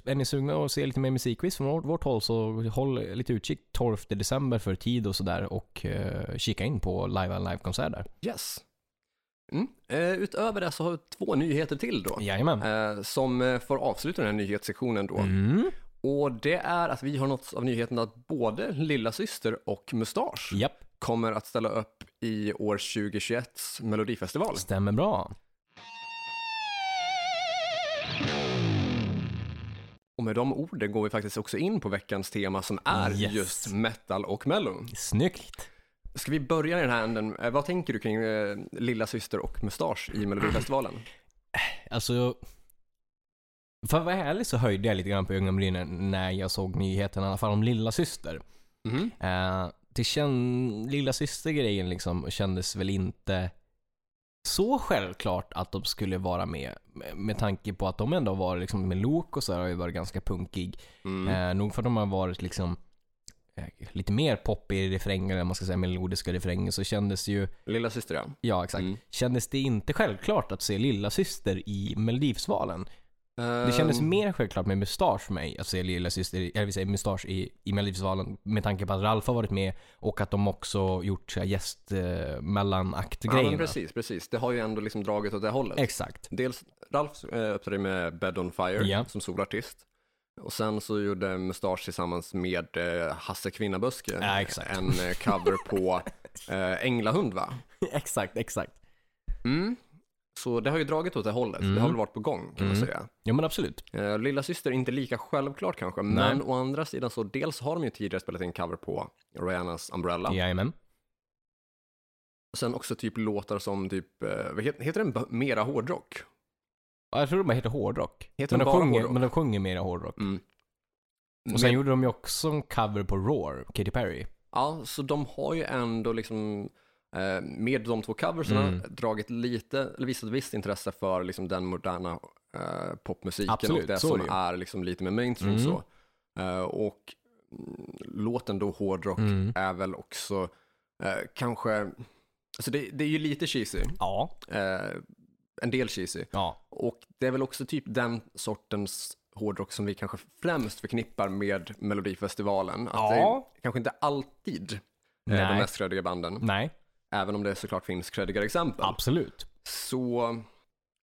[SPEAKER 2] är ni sugna att se lite mer musikquiz från vårt, vårt håll så håll lite utkik 12 december för tid och sådär och eh, kika in på live and live-konsert där.
[SPEAKER 1] Yes. Mm. Eh, utöver det så har vi två nyheter till då.
[SPEAKER 2] Jajamän.
[SPEAKER 1] Eh, som eh, får avsluta den här nyhetssektionen då.
[SPEAKER 2] Mm.
[SPEAKER 1] Och det är att vi har nåtts av nyheten att både lilla syster och Mustasch
[SPEAKER 2] Japp,
[SPEAKER 1] kommer att ställa upp i år 2021s Melodifestival.
[SPEAKER 2] stämmer bra.
[SPEAKER 1] Och med de orden går vi faktiskt också in på veckans tema som är
[SPEAKER 2] Yes.
[SPEAKER 1] just metal och mello.
[SPEAKER 2] Snyggt.
[SPEAKER 1] Ska vi börja i den här änden? Eh, Vad tänker du kring eh, lilla syster och Mustasch i Melodifestivalen?
[SPEAKER 2] Alltså, för att vara ärlig så höjde jag lite grann på ögonbrynen när jag såg nyheten, i alla fall om lilla syster.
[SPEAKER 1] Mhm.
[SPEAKER 2] Eh, det känn, lilla syster-grejen liksom kändes väl inte så självklart att de skulle vara med. med- Med tanke på att de ändå var liksom med Lok och så här har ju varit ganska punkig.
[SPEAKER 1] Mm.
[SPEAKER 2] Eh, nog för att de har varit liksom eh, lite mer poppig i refränger, eller man ska säga melodiska refränger, så kändes det ju,
[SPEAKER 1] Lilla syster ja.
[SPEAKER 2] ja exakt,
[SPEAKER 1] Mm.
[SPEAKER 2] kändes det inte självklart att se lilla syster i Melodifestivalen. Det kändes
[SPEAKER 1] Ehm,
[SPEAKER 2] mer självklart med mustasch för mig att se lilla syster, eller vi säger mustasch i, i Melodifestivalen med tanke på att Ralf har varit med och att de också gjort så här gäst eh, mellanakt
[SPEAKER 1] Ja, men
[SPEAKER 2] grejerna.
[SPEAKER 1] precis, precis. Det har ju ändå liksom dragit åt det hållet.
[SPEAKER 2] Exakt.
[SPEAKER 1] Dels Ralf eh, uppträdde med Bed on Fire
[SPEAKER 2] Ja.
[SPEAKER 1] som solartist. Och sen så gjorde Mustasch tillsammans med eh, Hasse Kvinnaböske
[SPEAKER 2] Ja, exakt.
[SPEAKER 1] en eh, cover på eh, Änglahund va?
[SPEAKER 2] exakt, exakt.
[SPEAKER 1] Mm. Så det har ju dragit åt det hållet. Det
[SPEAKER 2] Mm.
[SPEAKER 1] har väl varit på gång kan man säga.
[SPEAKER 2] Ja men absolut.
[SPEAKER 1] Eh, Lilla syster är inte lika självklart kanske, men å andra sidan så dels har de ju tidigare spelat in cover på Rihannas Umbrella.
[SPEAKER 2] Jajamän.
[SPEAKER 1] Och sen också typ låtar som typ, eh, vad heter, heter den, B- Mera Hårdrock?
[SPEAKER 2] Ja, Jag tror de bara heter hårdrock.
[SPEAKER 1] Heter
[SPEAKER 2] men,
[SPEAKER 1] de
[SPEAKER 2] de
[SPEAKER 1] bara
[SPEAKER 2] sjunger,
[SPEAKER 1] hårdrock?
[SPEAKER 2] men de sjunger mera hårdrock.
[SPEAKER 1] Mm.
[SPEAKER 2] Och sen
[SPEAKER 1] Men-
[SPEAKER 2] gjorde de ju också en cover på Roar, Katy Perry.
[SPEAKER 1] Ja, så de har ju ändå liksom eh, med de två coverserna
[SPEAKER 2] Mm.
[SPEAKER 1] dragit lite, eller visat visst intresse för liksom den moderna eh, popmusiken
[SPEAKER 2] Absolut,
[SPEAKER 1] och det
[SPEAKER 2] så
[SPEAKER 1] som
[SPEAKER 2] är det ju.
[SPEAKER 1] är liksom lite mer mainstream
[SPEAKER 2] Mm.
[SPEAKER 1] så. Eh, och mm, låten då hårdrock
[SPEAKER 2] Mm.
[SPEAKER 1] är väl också eh, kanske, alltså det, det är ju lite cheesy,
[SPEAKER 2] Ja.
[SPEAKER 1] eh, en del cheesy.
[SPEAKER 2] Ja.
[SPEAKER 1] Och det är väl också typ den sortens hårdrock som vi kanske främst förknippar med Melodifestivalen. Att det
[SPEAKER 2] Ja.
[SPEAKER 1] är kanske inte alltid eh, de
[SPEAKER 2] Nej. Mm.
[SPEAKER 1] mest creddiga banden,
[SPEAKER 2] Nej,
[SPEAKER 1] även om det såklart finns creddigare exempel.
[SPEAKER 2] absolut.
[SPEAKER 1] Så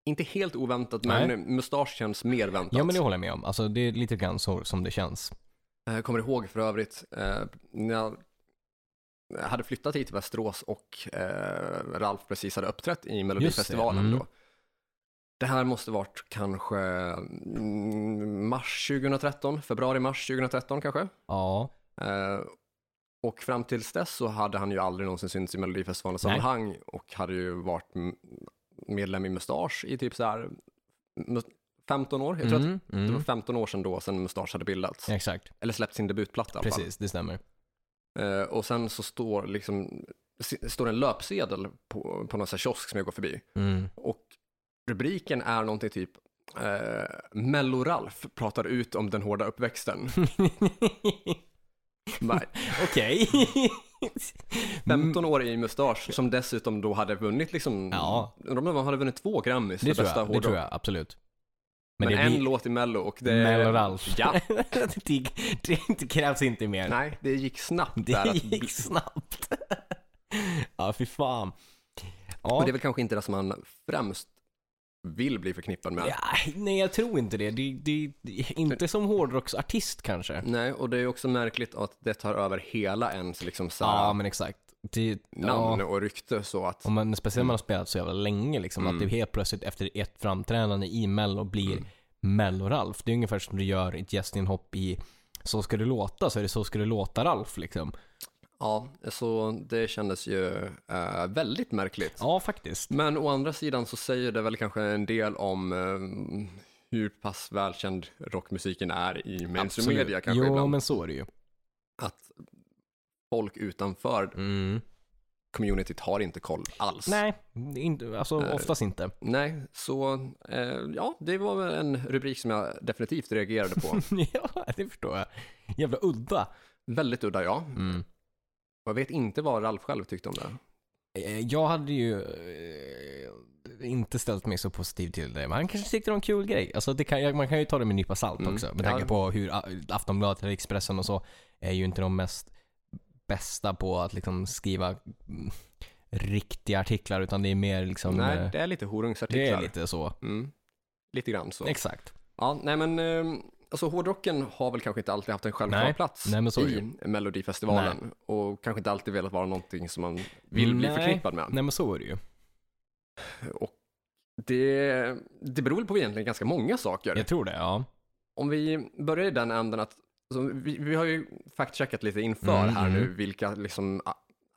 [SPEAKER 1] inte helt oväntat, men
[SPEAKER 2] Nej.
[SPEAKER 1] mustasch känns mer väntat.
[SPEAKER 2] Ja men det håller jag med om. Alltså det är lite grann så som det känns.
[SPEAKER 1] Jag Eh, kommer ihåg för övrigt, eh, när jag hade flyttat hit till Västerås och eh, Ralf precis hade uppträtt i Melodifestivalen
[SPEAKER 2] mm.
[SPEAKER 1] då. Det här måste varit kanske mm, mars 2013, februari-mars 2013 kanske.
[SPEAKER 2] Ja,
[SPEAKER 1] Eh, och fram tills dess så hade han ju aldrig någonsin synts i Melodifestivalens
[SPEAKER 2] Nej.
[SPEAKER 1] sammanhang och hade ju varit m- medlem i Mustasch i typ så här m- 15 år. Jag tror
[SPEAKER 2] mm,
[SPEAKER 1] att det
[SPEAKER 2] mm.
[SPEAKER 1] var 15 år sedan då, sedan Mustasch hade bildats.
[SPEAKER 2] exakt.
[SPEAKER 1] Eller släppt sin debutplatta i alla fall.
[SPEAKER 2] Precis, det stämmer.
[SPEAKER 1] Eh, och sen så står liksom, s- står en löpsedel på, på någon sån här kiosk som jag går förbi.
[SPEAKER 2] Mm.
[SPEAKER 1] Och rubriken är någonting typ eh, Mello-Ralf pratar ut om den hårda uppväxten. Bara,
[SPEAKER 2] Okej. Mm.
[SPEAKER 1] 15 år i mustasch som dessutom då hade vunnit liksom,
[SPEAKER 2] Ja.
[SPEAKER 1] de hade vunnit två Grammys
[SPEAKER 2] Det
[SPEAKER 1] för
[SPEAKER 2] tror
[SPEAKER 1] bästa
[SPEAKER 2] jag, det tror
[SPEAKER 1] hårdrock.
[SPEAKER 2] jag absolut.
[SPEAKER 1] Men,
[SPEAKER 2] det
[SPEAKER 1] en
[SPEAKER 2] blir-
[SPEAKER 1] låt i Mello och det...
[SPEAKER 2] Mello Ralf.
[SPEAKER 1] Ja,
[SPEAKER 2] det, det, det krävs inte mer.
[SPEAKER 1] nej, det gick snabbt där.
[SPEAKER 2] det
[SPEAKER 1] att-
[SPEAKER 2] gick snabbt. ja, fy fan.
[SPEAKER 1] Och
[SPEAKER 2] Ja,
[SPEAKER 1] det är väl kanske inte det som man främst vill bli förknippad med.
[SPEAKER 2] ja, nej, jag tror inte det. det, det, det inte som hårdrocksartist kanske.
[SPEAKER 1] Nej, och det är också märkligt att det tar över hela ens liksom så här,
[SPEAKER 2] Ja, men exakt. Det, ja,
[SPEAKER 1] namn och rykte så att...
[SPEAKER 2] om man, speciellt när man har spelat så jävla länge, liksom, att
[SPEAKER 1] Mm.
[SPEAKER 2] du helt plötsligt efter ett framträdande i Mello blir Mello-Ralf. Det är ungefär som du gör ett gästinhopp i Så ska du låta, så är det Så ska du låta-Ralf. Liksom.
[SPEAKER 1] Ja, så det kändes ju eh, väldigt märkligt.
[SPEAKER 2] Ja, faktiskt.
[SPEAKER 1] Men å andra sidan så säger det väl kanske en del om eh, hur pass välkänd rockmusiken är i mainstream
[SPEAKER 2] Absolut.
[SPEAKER 1] media kanske
[SPEAKER 2] jo,
[SPEAKER 1] ibland.
[SPEAKER 2] men så är det ju.
[SPEAKER 1] Att folk utanför
[SPEAKER 2] Mm.
[SPEAKER 1] communityt har inte koll alls.
[SPEAKER 2] Nej, inte, alltså oftast inte.
[SPEAKER 1] Nej, så eh, ja, det var väl en rubrik som jag definitivt reagerade på.
[SPEAKER 2] ja, det förstår jag. Jävla udda.
[SPEAKER 1] Väldigt udda ja.
[SPEAKER 2] Mm.
[SPEAKER 1] Och jag vet inte vad Ralf själv tyckte om det.
[SPEAKER 2] Eh, Jag hade ju eh, inte ställt mig så positiv till det, men han kanske tyckte det var en kul grej. Alltså det kan, man kan ju ta det med en nypa salt
[SPEAKER 1] Mm.
[SPEAKER 2] också, med
[SPEAKER 1] Ja.
[SPEAKER 2] tanke på hur A- Aftonbladet eller Expressen och så är ju inte de mest bästa på att liksom skriva mm, riktiga artiklar, utan det är mer liksom... eh,
[SPEAKER 1] Nej,
[SPEAKER 2] det,
[SPEAKER 1] det är lite horungsartiklar.
[SPEAKER 2] är lite så.
[SPEAKER 1] Mm. Lite grann så.
[SPEAKER 2] Exakt.
[SPEAKER 1] Ja, nej men eh, alltså hårdrocken har väl kanske inte alltid haft en självklar
[SPEAKER 2] Nej,
[SPEAKER 1] plats
[SPEAKER 2] nej, men så är det
[SPEAKER 1] i Melodifestivalen och kanske inte alltid velat vara någonting som man vill bli
[SPEAKER 2] Nej.
[SPEAKER 1] förknippad med.
[SPEAKER 2] Nej men så är det ju.
[SPEAKER 1] Och det, det beror väl på egentligen ganska många saker.
[SPEAKER 2] Jag tror det, ja.
[SPEAKER 1] Om vi börjar i den änden att alltså, vi, vi har ju fact-checkat lite inför
[SPEAKER 2] Mm,
[SPEAKER 1] här
[SPEAKER 2] mm.
[SPEAKER 1] nu vilka liksom, a-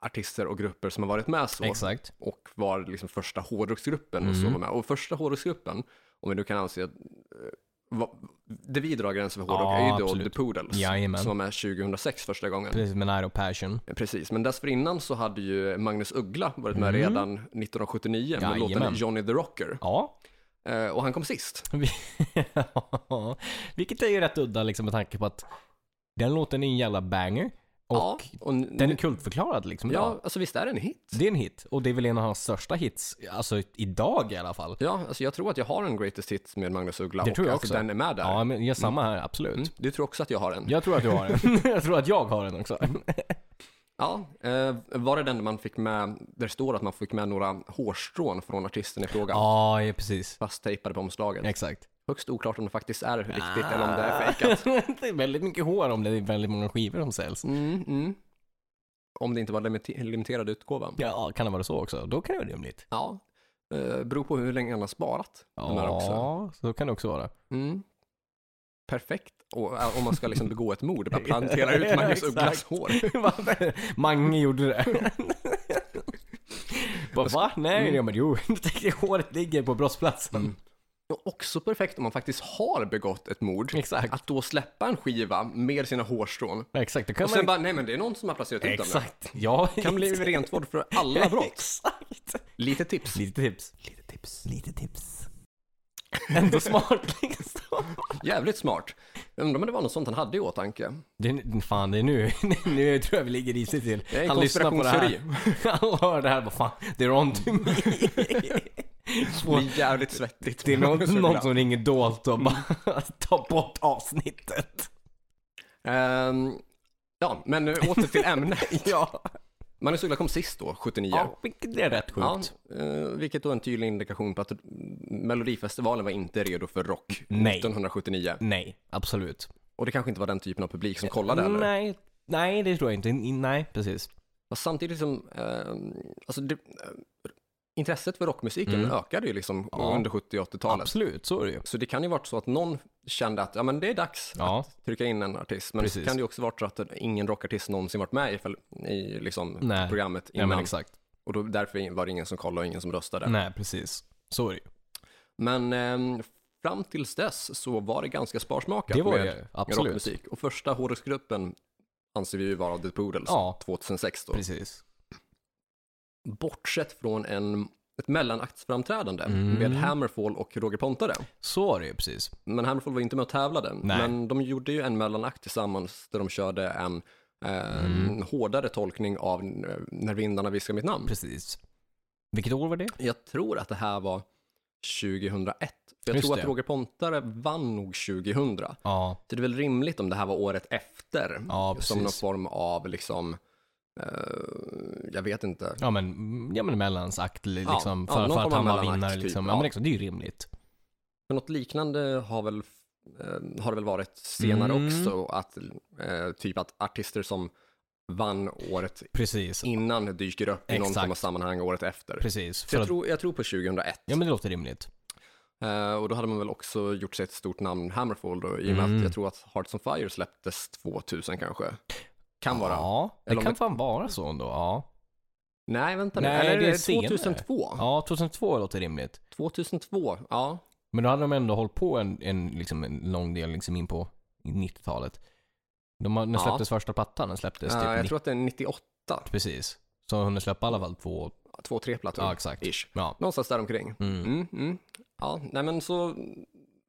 [SPEAKER 1] artister och grupper som har varit med så
[SPEAKER 2] Exakt.
[SPEAKER 1] och var liksom första hårdrocksgruppen och så
[SPEAKER 2] Mm.
[SPEAKER 1] var med. Och första hårdrocksgruppen, om vi nu kan anse att eh, va- det vi drar gränsen för hårdrock
[SPEAKER 2] Ja,
[SPEAKER 1] är ju då The
[SPEAKER 2] absolut.
[SPEAKER 1] Poodles
[SPEAKER 2] Jajamän.
[SPEAKER 1] som var med 2006 första gången.
[SPEAKER 2] Precis, med Nairo Passion.
[SPEAKER 1] Precis, men dessförinnan så hade ju Magnus Uggla varit med
[SPEAKER 2] Mm.
[SPEAKER 1] redan 1979 med låten
[SPEAKER 2] Jajamän.
[SPEAKER 1] Johnny the Rocker
[SPEAKER 2] Ja.
[SPEAKER 1] Eh, och han kom sist.
[SPEAKER 2] Ja, Vilket är ju rätt udda liksom med tanke på att den låten är en jävla banger och
[SPEAKER 1] ja, och n-
[SPEAKER 2] den är kultförklarad liksom
[SPEAKER 1] ja,
[SPEAKER 2] idag.
[SPEAKER 1] alltså visst är det en hit?
[SPEAKER 2] Det är en hit och det är väl en av hans största hits, alltså idag i alla fall.
[SPEAKER 1] Ja, alltså jag tror att jag har en greatest hit med Magnus Uggla
[SPEAKER 2] Det
[SPEAKER 1] och
[SPEAKER 2] tror jag
[SPEAKER 1] att
[SPEAKER 2] också.
[SPEAKER 1] den är med där. Mm.
[SPEAKER 2] Ja, men ja, samma här, absolut.
[SPEAKER 1] Du tror också att jag har en?
[SPEAKER 2] Jag tror att du har den. jag tror att jag har den också.
[SPEAKER 1] Ja, eh, var det den man fick med, där det står att man fick med några hårstrån från artisten i fråga,
[SPEAKER 2] Ja, ja precis.
[SPEAKER 1] fast tejpade på omslaget.
[SPEAKER 2] Exakt.
[SPEAKER 1] Högst oklart om det faktiskt är riktigt eller om det är
[SPEAKER 2] Ah.
[SPEAKER 1] fejkat.
[SPEAKER 2] det är väldigt mycket hår om det är väldigt många skivor som säljs.
[SPEAKER 1] Mm, mm. Om det inte var limite- limiterad utgåva.
[SPEAKER 2] Ja, kan det vara så också? Då kan det vara rimligt.
[SPEAKER 1] Ja, eh, beror på hur länge han har sparat de här också.
[SPEAKER 2] Ja, så kan det också vara.
[SPEAKER 1] Mm. Perfekt och, eh, om man ska liksom begå ett mord, bara plantera ut Magnus
[SPEAKER 2] Exakt.
[SPEAKER 1] Ugglas hår.
[SPEAKER 2] Mange gjorde det. Bara, va? Nej, ja, men jo. Håret ligger på brottsplatsen.
[SPEAKER 1] Och också perfekt om man faktiskt har begått ett mord,
[SPEAKER 2] Exakt.
[SPEAKER 1] att då släppa en skiva med sina hårstrån
[SPEAKER 2] Exakt, då kan
[SPEAKER 1] Och sen
[SPEAKER 2] man...
[SPEAKER 1] bara, nej men det är någon som har placerat ut dem.
[SPEAKER 2] Exakt. Ja.
[SPEAKER 1] där. Kan bli rentvård för alla brott.
[SPEAKER 2] Exakt.
[SPEAKER 1] Lite tips.
[SPEAKER 2] Lite tips. Lite tips. Lite tips. Ändå smart liksom.
[SPEAKER 1] Jävligt smart. Undrar om det var något sånt han hade i åtanke.
[SPEAKER 2] Det, är- fan, det är nu. nu tror jag vi ligger risigt till.
[SPEAKER 1] är en
[SPEAKER 2] Han lyssnar på det här. Han hör det här bara, fan, det är on to me.
[SPEAKER 1] Det blir jävligt svettigt.
[SPEAKER 2] Det är någon, någon som ringer dolt och bara tar bort avsnittet.
[SPEAKER 1] Ehm, ja, men eh, åter till ämnet.
[SPEAKER 2] Ja.
[SPEAKER 1] Magnus Uggla kom sist då, 79.
[SPEAKER 2] ja, vilket är rätt
[SPEAKER 1] Ja,
[SPEAKER 2] sjukt.
[SPEAKER 1] eh, vilket då är en tydlig indikation på att Melodifestivalen var inte redo för rock
[SPEAKER 2] Nej.
[SPEAKER 1] 1979.
[SPEAKER 2] Nej, absolut.
[SPEAKER 1] Och det kanske inte var den typen av publik
[SPEAKER 2] Eh,
[SPEAKER 1] som kollade heller.
[SPEAKER 2] Nej, nej, det tror jag inte. In- Nej, precis.
[SPEAKER 1] Och samtidigt som, eh, alltså det, eh, intresset för rockmusiken
[SPEAKER 2] Mm.
[SPEAKER 1] ökade ju liksom
[SPEAKER 2] Ja.
[SPEAKER 1] under 70 och 80-talet.
[SPEAKER 2] Absolut, så är det ju.
[SPEAKER 1] Så det kan ju varit så att någon kände att ja, men det är dags
[SPEAKER 2] Ja,
[SPEAKER 1] att trycka in en artist. Men
[SPEAKER 2] Precis.
[SPEAKER 1] så kan det ju också varit så att ingen rockartist någonsin varit med i, fel- i liksom
[SPEAKER 2] Nej.
[SPEAKER 1] programmet
[SPEAKER 2] ja
[SPEAKER 1] innan.
[SPEAKER 2] men exakt.
[SPEAKER 1] och då, därför var det ingen som kollade och ingen som röstade.
[SPEAKER 2] Nej, precis. Så är det ju.
[SPEAKER 1] Men ehm, fram tills dess så var det ganska sparsmakat
[SPEAKER 2] Det var
[SPEAKER 1] med
[SPEAKER 2] det ju, absolut.
[SPEAKER 1] rockmusik. Och första hårdrocksgruppen anser vi ju vara The Poodles
[SPEAKER 2] Ja.
[SPEAKER 1] 2006 då.
[SPEAKER 2] Precis.
[SPEAKER 1] Bortsett från en, ett mellanaktsframträdande
[SPEAKER 2] Mm.
[SPEAKER 1] med Hammerfall och Roger Pontare.
[SPEAKER 2] Så var det ju, precis.
[SPEAKER 1] Men Hammerfall var inte med och tävlade.
[SPEAKER 2] Nej.
[SPEAKER 1] Men de gjorde ju en mellanakt tillsammans där de körde en eh,
[SPEAKER 2] Mm.
[SPEAKER 1] hårdare tolkning av eh, När vindarna viskar mitt namn.
[SPEAKER 2] Precis. Vilket år var det?
[SPEAKER 1] Jag tror att det här var 2001. För jag
[SPEAKER 2] Just
[SPEAKER 1] tror
[SPEAKER 2] det.
[SPEAKER 1] att Roger Pontare vann nog 2000.
[SPEAKER 2] Ja,
[SPEAKER 1] Så det är väl rimligt om det här var året efter.
[SPEAKER 2] ja
[SPEAKER 1] Mm. som någon
[SPEAKER 2] precis.
[SPEAKER 1] form av liksom, eh, jag vet inte.
[SPEAKER 2] Ja men, mm, ja men mellansakt li-
[SPEAKER 1] Ja,
[SPEAKER 2] liksom,
[SPEAKER 1] ja,
[SPEAKER 2] för,
[SPEAKER 1] någon
[SPEAKER 2] för att
[SPEAKER 1] form
[SPEAKER 2] han
[SPEAKER 1] av
[SPEAKER 2] var
[SPEAKER 1] mellanakt
[SPEAKER 2] vinnare
[SPEAKER 1] typ,
[SPEAKER 2] liksom. Ja,
[SPEAKER 1] ja.
[SPEAKER 2] men exakt, det är ju rimligt.
[SPEAKER 1] För något liknande har väl, eh, har det väl varit senare
[SPEAKER 2] Mm.
[SPEAKER 1] också. Att, eh, typ att artister som vann året
[SPEAKER 2] Precis,
[SPEAKER 1] innan dyker upp i någon
[SPEAKER 2] Exakt.
[SPEAKER 1] form av sammanhang året efter.
[SPEAKER 2] precis.
[SPEAKER 1] Mm. Så
[SPEAKER 2] För
[SPEAKER 1] jag,
[SPEAKER 2] att,
[SPEAKER 1] tror, jag tror på 2001.
[SPEAKER 2] ja men det låter rimligt.
[SPEAKER 1] Eh, och då hade man väl också gjort sig ett stort namn, Hammerfall, då, i och med
[SPEAKER 2] Mm.
[SPEAKER 1] att jag tror att Hearts on Fire släpptes 2000 kanske. Kan vara.
[SPEAKER 2] Ja, det
[SPEAKER 1] Eller om
[SPEAKER 2] kan
[SPEAKER 1] det-
[SPEAKER 2] fan vara så ändå. Ja,
[SPEAKER 1] Nej, vänta nu.
[SPEAKER 2] Nej,
[SPEAKER 1] Eller
[SPEAKER 2] det är
[SPEAKER 1] det är
[SPEAKER 2] senare.
[SPEAKER 1] 2002.
[SPEAKER 2] ja 2002 låter rimligt.
[SPEAKER 1] 2002, ja.
[SPEAKER 2] Men då hade de ändå hållit på en, en, liksom, en lång del liksom in på 90-talet. De, har- när
[SPEAKER 1] Ja.
[SPEAKER 2] släpptes första plattan? Den släpptes
[SPEAKER 1] Eh,
[SPEAKER 2] typ
[SPEAKER 1] jag
[SPEAKER 2] 90,
[SPEAKER 1] tror att det är 98,
[SPEAKER 2] precis. Så de hunnit släppa i alla fall två,
[SPEAKER 1] två, tre plattor.
[SPEAKER 2] ja exakt.
[SPEAKER 1] Ish.
[SPEAKER 2] Ja.
[SPEAKER 1] Någonstans däromkring.
[SPEAKER 2] Mm.
[SPEAKER 1] Mm, mm. Ja, nej men så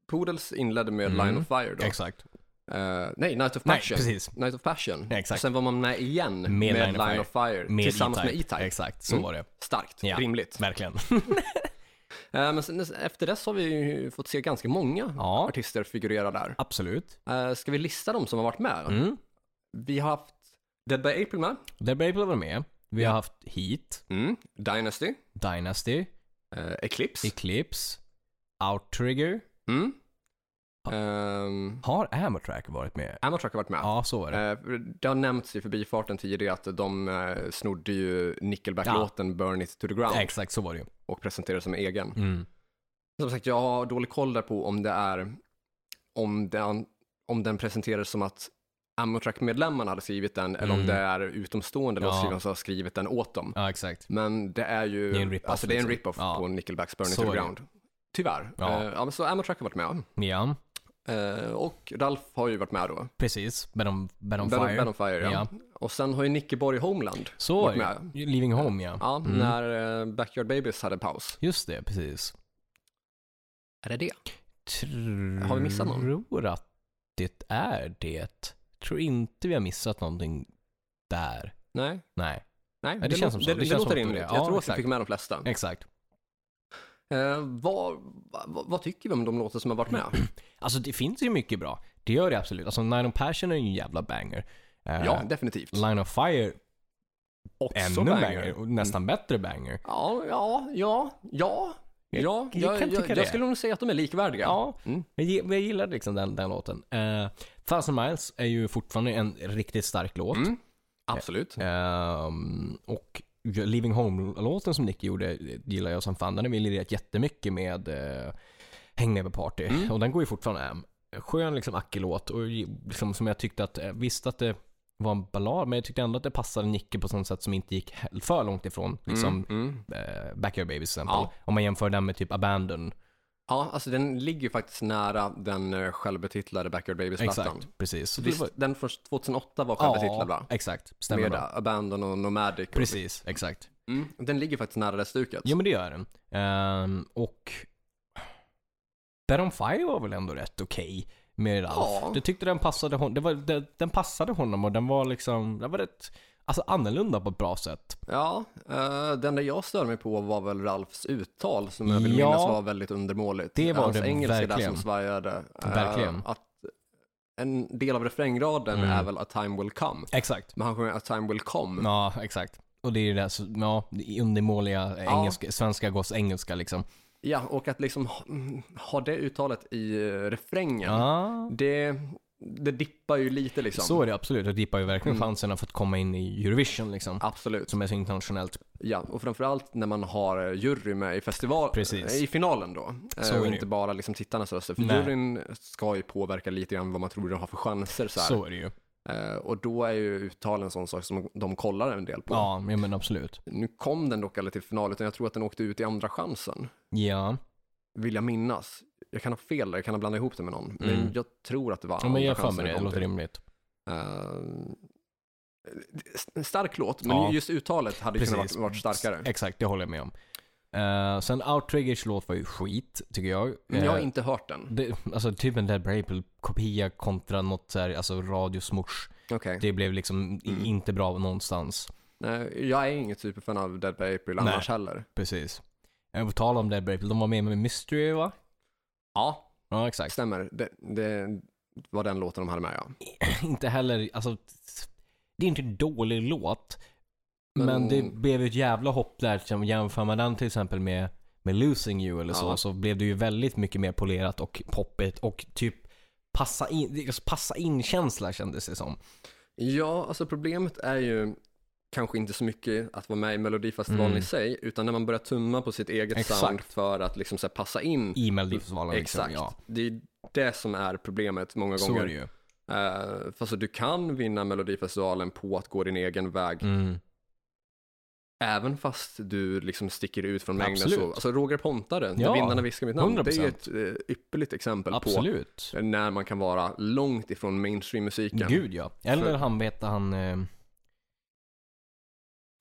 [SPEAKER 1] Poodles inledde med
[SPEAKER 2] Mm.
[SPEAKER 1] Line of Fire då.
[SPEAKER 2] Exakt.
[SPEAKER 1] Eh, nej, Night of
[SPEAKER 2] Nej,
[SPEAKER 1] Passion.
[SPEAKER 2] precis.
[SPEAKER 1] Night of Passion.
[SPEAKER 2] Ja, exakt.
[SPEAKER 1] Och sen var man med igen med, Line, of Fire,
[SPEAKER 2] Med
[SPEAKER 1] tillsammans
[SPEAKER 2] E-Type.
[SPEAKER 1] med E-Type.
[SPEAKER 2] Exakt, så
[SPEAKER 1] Mm.
[SPEAKER 2] var det.
[SPEAKER 1] Starkt,
[SPEAKER 2] Ja.
[SPEAKER 1] rimligt.
[SPEAKER 2] Verkligen.
[SPEAKER 1] Eh, men sen, efter dess har vi ju fått se ganska många
[SPEAKER 2] Ja.
[SPEAKER 1] artister figurera där.
[SPEAKER 2] Absolut.
[SPEAKER 1] Uh, ska vi lista dem som har varit med?
[SPEAKER 2] Mm. Och
[SPEAKER 1] Vi har haft Dead by April med,
[SPEAKER 2] Dead Baby var med. Vi har haft Heat,
[SPEAKER 1] mm. Dynasty,
[SPEAKER 2] Dynasty,
[SPEAKER 1] eh, Eclipse.
[SPEAKER 2] Eclipse, Outrigger.
[SPEAKER 1] Mm. Ehm,
[SPEAKER 2] Har Amortrack varit med?
[SPEAKER 1] Amatrack har varit med.
[SPEAKER 2] Ja, så var det.
[SPEAKER 1] Eh, Det har nämnts i förbifarten tidigare att de eh, snodde ju Nickelback-låten Burn It To The Ground
[SPEAKER 2] Exakt, så var det ju.
[SPEAKER 1] och presenterade som egen.
[SPEAKER 2] Mm.
[SPEAKER 1] Som sagt, jag har dålig koll där på om det är om den, om den presenteras som att Amatrack-medlemmarna hade skrivit den eller om
[SPEAKER 2] Mm.
[SPEAKER 1] det är utomstående
[SPEAKER 2] Ja.
[SPEAKER 1] låtskrivare som har skrivit den åt dem.
[SPEAKER 2] Ja, exakt.
[SPEAKER 1] Men det är ju
[SPEAKER 2] Det är en rip-off,
[SPEAKER 1] alltså, det är en
[SPEAKER 2] liksom.
[SPEAKER 1] rip-off
[SPEAKER 2] Ja.
[SPEAKER 1] på Nickelbacks Burn It To
[SPEAKER 2] Så
[SPEAKER 1] The
[SPEAKER 2] är det.
[SPEAKER 1] Ground. Tyvärr. Ja.
[SPEAKER 2] Ja.
[SPEAKER 1] ja, men så Amatrack har varit med.
[SPEAKER 2] Ja,
[SPEAKER 1] Eh, och Ralf har ju varit med då.
[SPEAKER 2] precis. Men on, Bed on
[SPEAKER 1] Ben-
[SPEAKER 2] Fire.
[SPEAKER 1] Ben on Fire, ja.
[SPEAKER 2] Ja.
[SPEAKER 1] Och sen har ju Nickeborg Homeland
[SPEAKER 2] Så var
[SPEAKER 1] varit
[SPEAKER 2] det
[SPEAKER 1] med.
[SPEAKER 2] ju. Living Home, ja.
[SPEAKER 1] Ja,
[SPEAKER 2] Mm.
[SPEAKER 1] när eh, Backyard Babies hade paus.
[SPEAKER 2] Just det, precis.
[SPEAKER 1] Är det det?
[SPEAKER 2] Tror
[SPEAKER 1] Har vi missat någon?
[SPEAKER 2] Tror att det är det. Tror inte vi har missat någonting där.
[SPEAKER 1] Nej,
[SPEAKER 2] Nej,
[SPEAKER 1] nej.
[SPEAKER 2] det känns som
[SPEAKER 1] lå-
[SPEAKER 2] så.
[SPEAKER 1] det,
[SPEAKER 2] Det
[SPEAKER 1] det,
[SPEAKER 2] känns som
[SPEAKER 1] låter
[SPEAKER 2] att det-
[SPEAKER 1] rimligt. Jag
[SPEAKER 2] ja,
[SPEAKER 1] tror att vi
[SPEAKER 2] exakt.
[SPEAKER 1] fick med de flesta.
[SPEAKER 2] exakt.
[SPEAKER 1] Eh, vad, vad, vad tycker vi om de låtar som har varit med?
[SPEAKER 2] Alltså det finns ju mycket bra. Det gör det absolut. Alltså Nine of Passion är ju en jävla banger. Eh,
[SPEAKER 1] ja, definitivt.
[SPEAKER 2] Line of Fire,
[SPEAKER 1] Också
[SPEAKER 2] ännu banger. Och nästan
[SPEAKER 1] Mm.
[SPEAKER 2] bättre banger.
[SPEAKER 1] Ja, ja, ja, ja. Ja,
[SPEAKER 2] jag
[SPEAKER 1] jag,
[SPEAKER 2] kan
[SPEAKER 1] jag,
[SPEAKER 2] tycka
[SPEAKER 1] jag,
[SPEAKER 2] det.
[SPEAKER 1] skulle nog säga att de är likvärdiga.
[SPEAKER 2] Ja,
[SPEAKER 1] Mm.
[SPEAKER 2] jag, gi- jag gillar liksom den, den låten. Eh, Thousand Miles är ju fortfarande en riktigt stark låt.
[SPEAKER 1] Mm. Absolut.
[SPEAKER 2] Eh, Ehm, och Living Home-låten som Nick gjorde gillar jag som fan. Den har vi lirat jättemycket med eh, Häng med på Party.
[SPEAKER 1] Mm.
[SPEAKER 2] Och den går ju fortfarande hem. Skön liksom Aki-låt och ju- liksom, som jag tyckte att, eh, visst att det var en ballad, men jag tyckte ändå att det passade Nicke på sånt sätt som inte gick he- för långt ifrån. Liksom
[SPEAKER 1] Mm.
[SPEAKER 2] eh, Backyard Babies till exempel.
[SPEAKER 1] Ja.
[SPEAKER 2] Om man jämför den med typ Abandon.
[SPEAKER 1] Ja, alltså den ligger ju faktiskt nära den eh, självbetitlade Backyard Babies-plattan.
[SPEAKER 2] Exakt, precis. Så det
[SPEAKER 1] Visst,
[SPEAKER 2] var-
[SPEAKER 1] den från 2008 var självbetitlad
[SPEAKER 2] ja,
[SPEAKER 1] va?
[SPEAKER 2] exakt. Stämmer
[SPEAKER 1] Med
[SPEAKER 2] bra.
[SPEAKER 1] Abandon och Nomadic. och-
[SPEAKER 2] Precis, exakt.
[SPEAKER 1] Mm. Den ligger faktiskt nära det stuket.
[SPEAKER 2] Jo men det gör den. Ehm, och Bed on Fire var väl ändå rätt okej med Ralf.
[SPEAKER 1] Ja.
[SPEAKER 2] Du tyckte den passade honom. Det var, det, den passade honom och den var liksom, den var rätt, alltså annorlunda på ett bra sätt.
[SPEAKER 1] Ja, eh, den där jag stör mig på var väl Ralfs uttal som jag vill
[SPEAKER 2] Ja.
[SPEAKER 1] minnas var väldigt undermåligt.
[SPEAKER 2] Det var
[SPEAKER 1] Hans
[SPEAKER 2] det
[SPEAKER 1] engelska där
[SPEAKER 2] verkligen.
[SPEAKER 1] som svajade. eh,
[SPEAKER 2] Verkligen.
[SPEAKER 1] Att en del av refrängraden
[SPEAKER 2] Mm.
[SPEAKER 1] är väl A time will come.
[SPEAKER 2] Exakt.
[SPEAKER 1] Men han sjunger A time will come.
[SPEAKER 2] Ja, exakt. Och det är ju det här, så- ja, det undermåliga
[SPEAKER 1] Ja.
[SPEAKER 2] engelska, svenska gås engelska liksom.
[SPEAKER 1] Ja, och att liksom ha- mm, ha det uttalet i eh, refrängen.
[SPEAKER 2] Ja,
[SPEAKER 1] Det, det dippar ju lite liksom.
[SPEAKER 2] Så är det absolut. Det dippar ju verkligen
[SPEAKER 1] Mm.
[SPEAKER 2] chanserna för att komma in i Eurovision liksom.
[SPEAKER 1] Absolut.
[SPEAKER 2] Som är så internationellt.
[SPEAKER 1] Ja, och framförallt när man har eh, jury med i festival,
[SPEAKER 2] Precis.
[SPEAKER 1] i finalen då. Eh,
[SPEAKER 2] Så är
[SPEAKER 1] och
[SPEAKER 2] det ju.
[SPEAKER 1] inte bara liksom tittarnas röster. För
[SPEAKER 2] Nej.
[SPEAKER 1] juryn ska ju påverka lite grann vad man tror de har för chanser. Så här.
[SPEAKER 2] Så är det ju.
[SPEAKER 1] Eh, och då är ju uttal en sån sak som de kollar en del på.
[SPEAKER 2] Ja, ja men absolut.
[SPEAKER 1] Nu kom den dock aldrig till final, utan jag tror att den åkte ut i andra chansen,
[SPEAKER 2] Ja.
[SPEAKER 1] vill jag minnas. Jag kan ha fel där, jag kan ha blandat ihop det med någon. Men
[SPEAKER 2] Mm.
[SPEAKER 1] jag tror att det var
[SPEAKER 2] ja men
[SPEAKER 1] andra
[SPEAKER 2] jag har för
[SPEAKER 1] chansen
[SPEAKER 2] mig det. Det
[SPEAKER 1] kom
[SPEAKER 2] låter
[SPEAKER 1] till.
[SPEAKER 2] rimligt.
[SPEAKER 1] Eh, s- stark låt, men
[SPEAKER 2] Ja.
[SPEAKER 1] just uttalet hade ju kunnat varit,
[SPEAKER 2] Precis.
[SPEAKER 1] varit starkare.
[SPEAKER 2] Exakt, det håller jag med om. Eh, sen Outriggers låt var ju skit, tycker jag.
[SPEAKER 1] Men Mm, jag har
[SPEAKER 2] Eh,
[SPEAKER 1] inte hört den.
[SPEAKER 2] det, alltså typ en Dead April kopia kontra något så här, alltså radiosmorts.
[SPEAKER 1] Okej.
[SPEAKER 2] Det blev liksom i-
[SPEAKER 1] Mm.
[SPEAKER 2] inte bra någonstans.
[SPEAKER 1] Nej, jag är inget superfan av Dead by April
[SPEAKER 2] Nej.
[SPEAKER 1] annars heller.
[SPEAKER 2] Precis. Eh, På tal om Dead April, de var med med Mystery va?
[SPEAKER 1] Ja,
[SPEAKER 2] Ja, exakt.
[SPEAKER 1] stämmer. Det, det var den låten de hade med, ja.
[SPEAKER 2] inte heller, alltså det är inte en dålig låt. Men,
[SPEAKER 1] Men-
[SPEAKER 2] det blev ju ett jävla hopp där. som Jämför man den till exempel med, med Losing You eller så,
[SPEAKER 1] Ja.
[SPEAKER 2] så blev det ju väldigt mycket mer polerat och poppigt och typ passa in, det- alltså, passa in känsla kändes det som.
[SPEAKER 1] Ja, alltså problemet är ju kanske inte så mycket att vara med i Melodifestivalen
[SPEAKER 2] Mm.
[SPEAKER 1] i sig, utan när man börjar tumma på sitt eget
[SPEAKER 2] Exakt.
[SPEAKER 1] sound för att liksom så här passa in.
[SPEAKER 2] I Melodifestivalen liksom.
[SPEAKER 1] Exakt.
[SPEAKER 2] Ja,
[SPEAKER 1] Det är det som är problemet många
[SPEAKER 2] så är det
[SPEAKER 1] gånger.
[SPEAKER 2] ju.
[SPEAKER 1] Uh, för alltså, du kan vinna Melodifestivalen på att gå din egen väg,
[SPEAKER 2] Mm.
[SPEAKER 1] även fast du liksom sticker ut från mängden.
[SPEAKER 2] Absolut.
[SPEAKER 1] Så, alltså Roger Pontare,
[SPEAKER 2] Ja,
[SPEAKER 1] när vindarna viskar mitt namn, det är ju ett
[SPEAKER 2] 100%.
[SPEAKER 1] uh, ypperligt exempel på
[SPEAKER 2] Absolut.
[SPEAKER 1] när man kan vara långt ifrån mainstream-musiken.
[SPEAKER 2] Gud ja. Eller
[SPEAKER 1] För-
[SPEAKER 2] han vet han... Eh...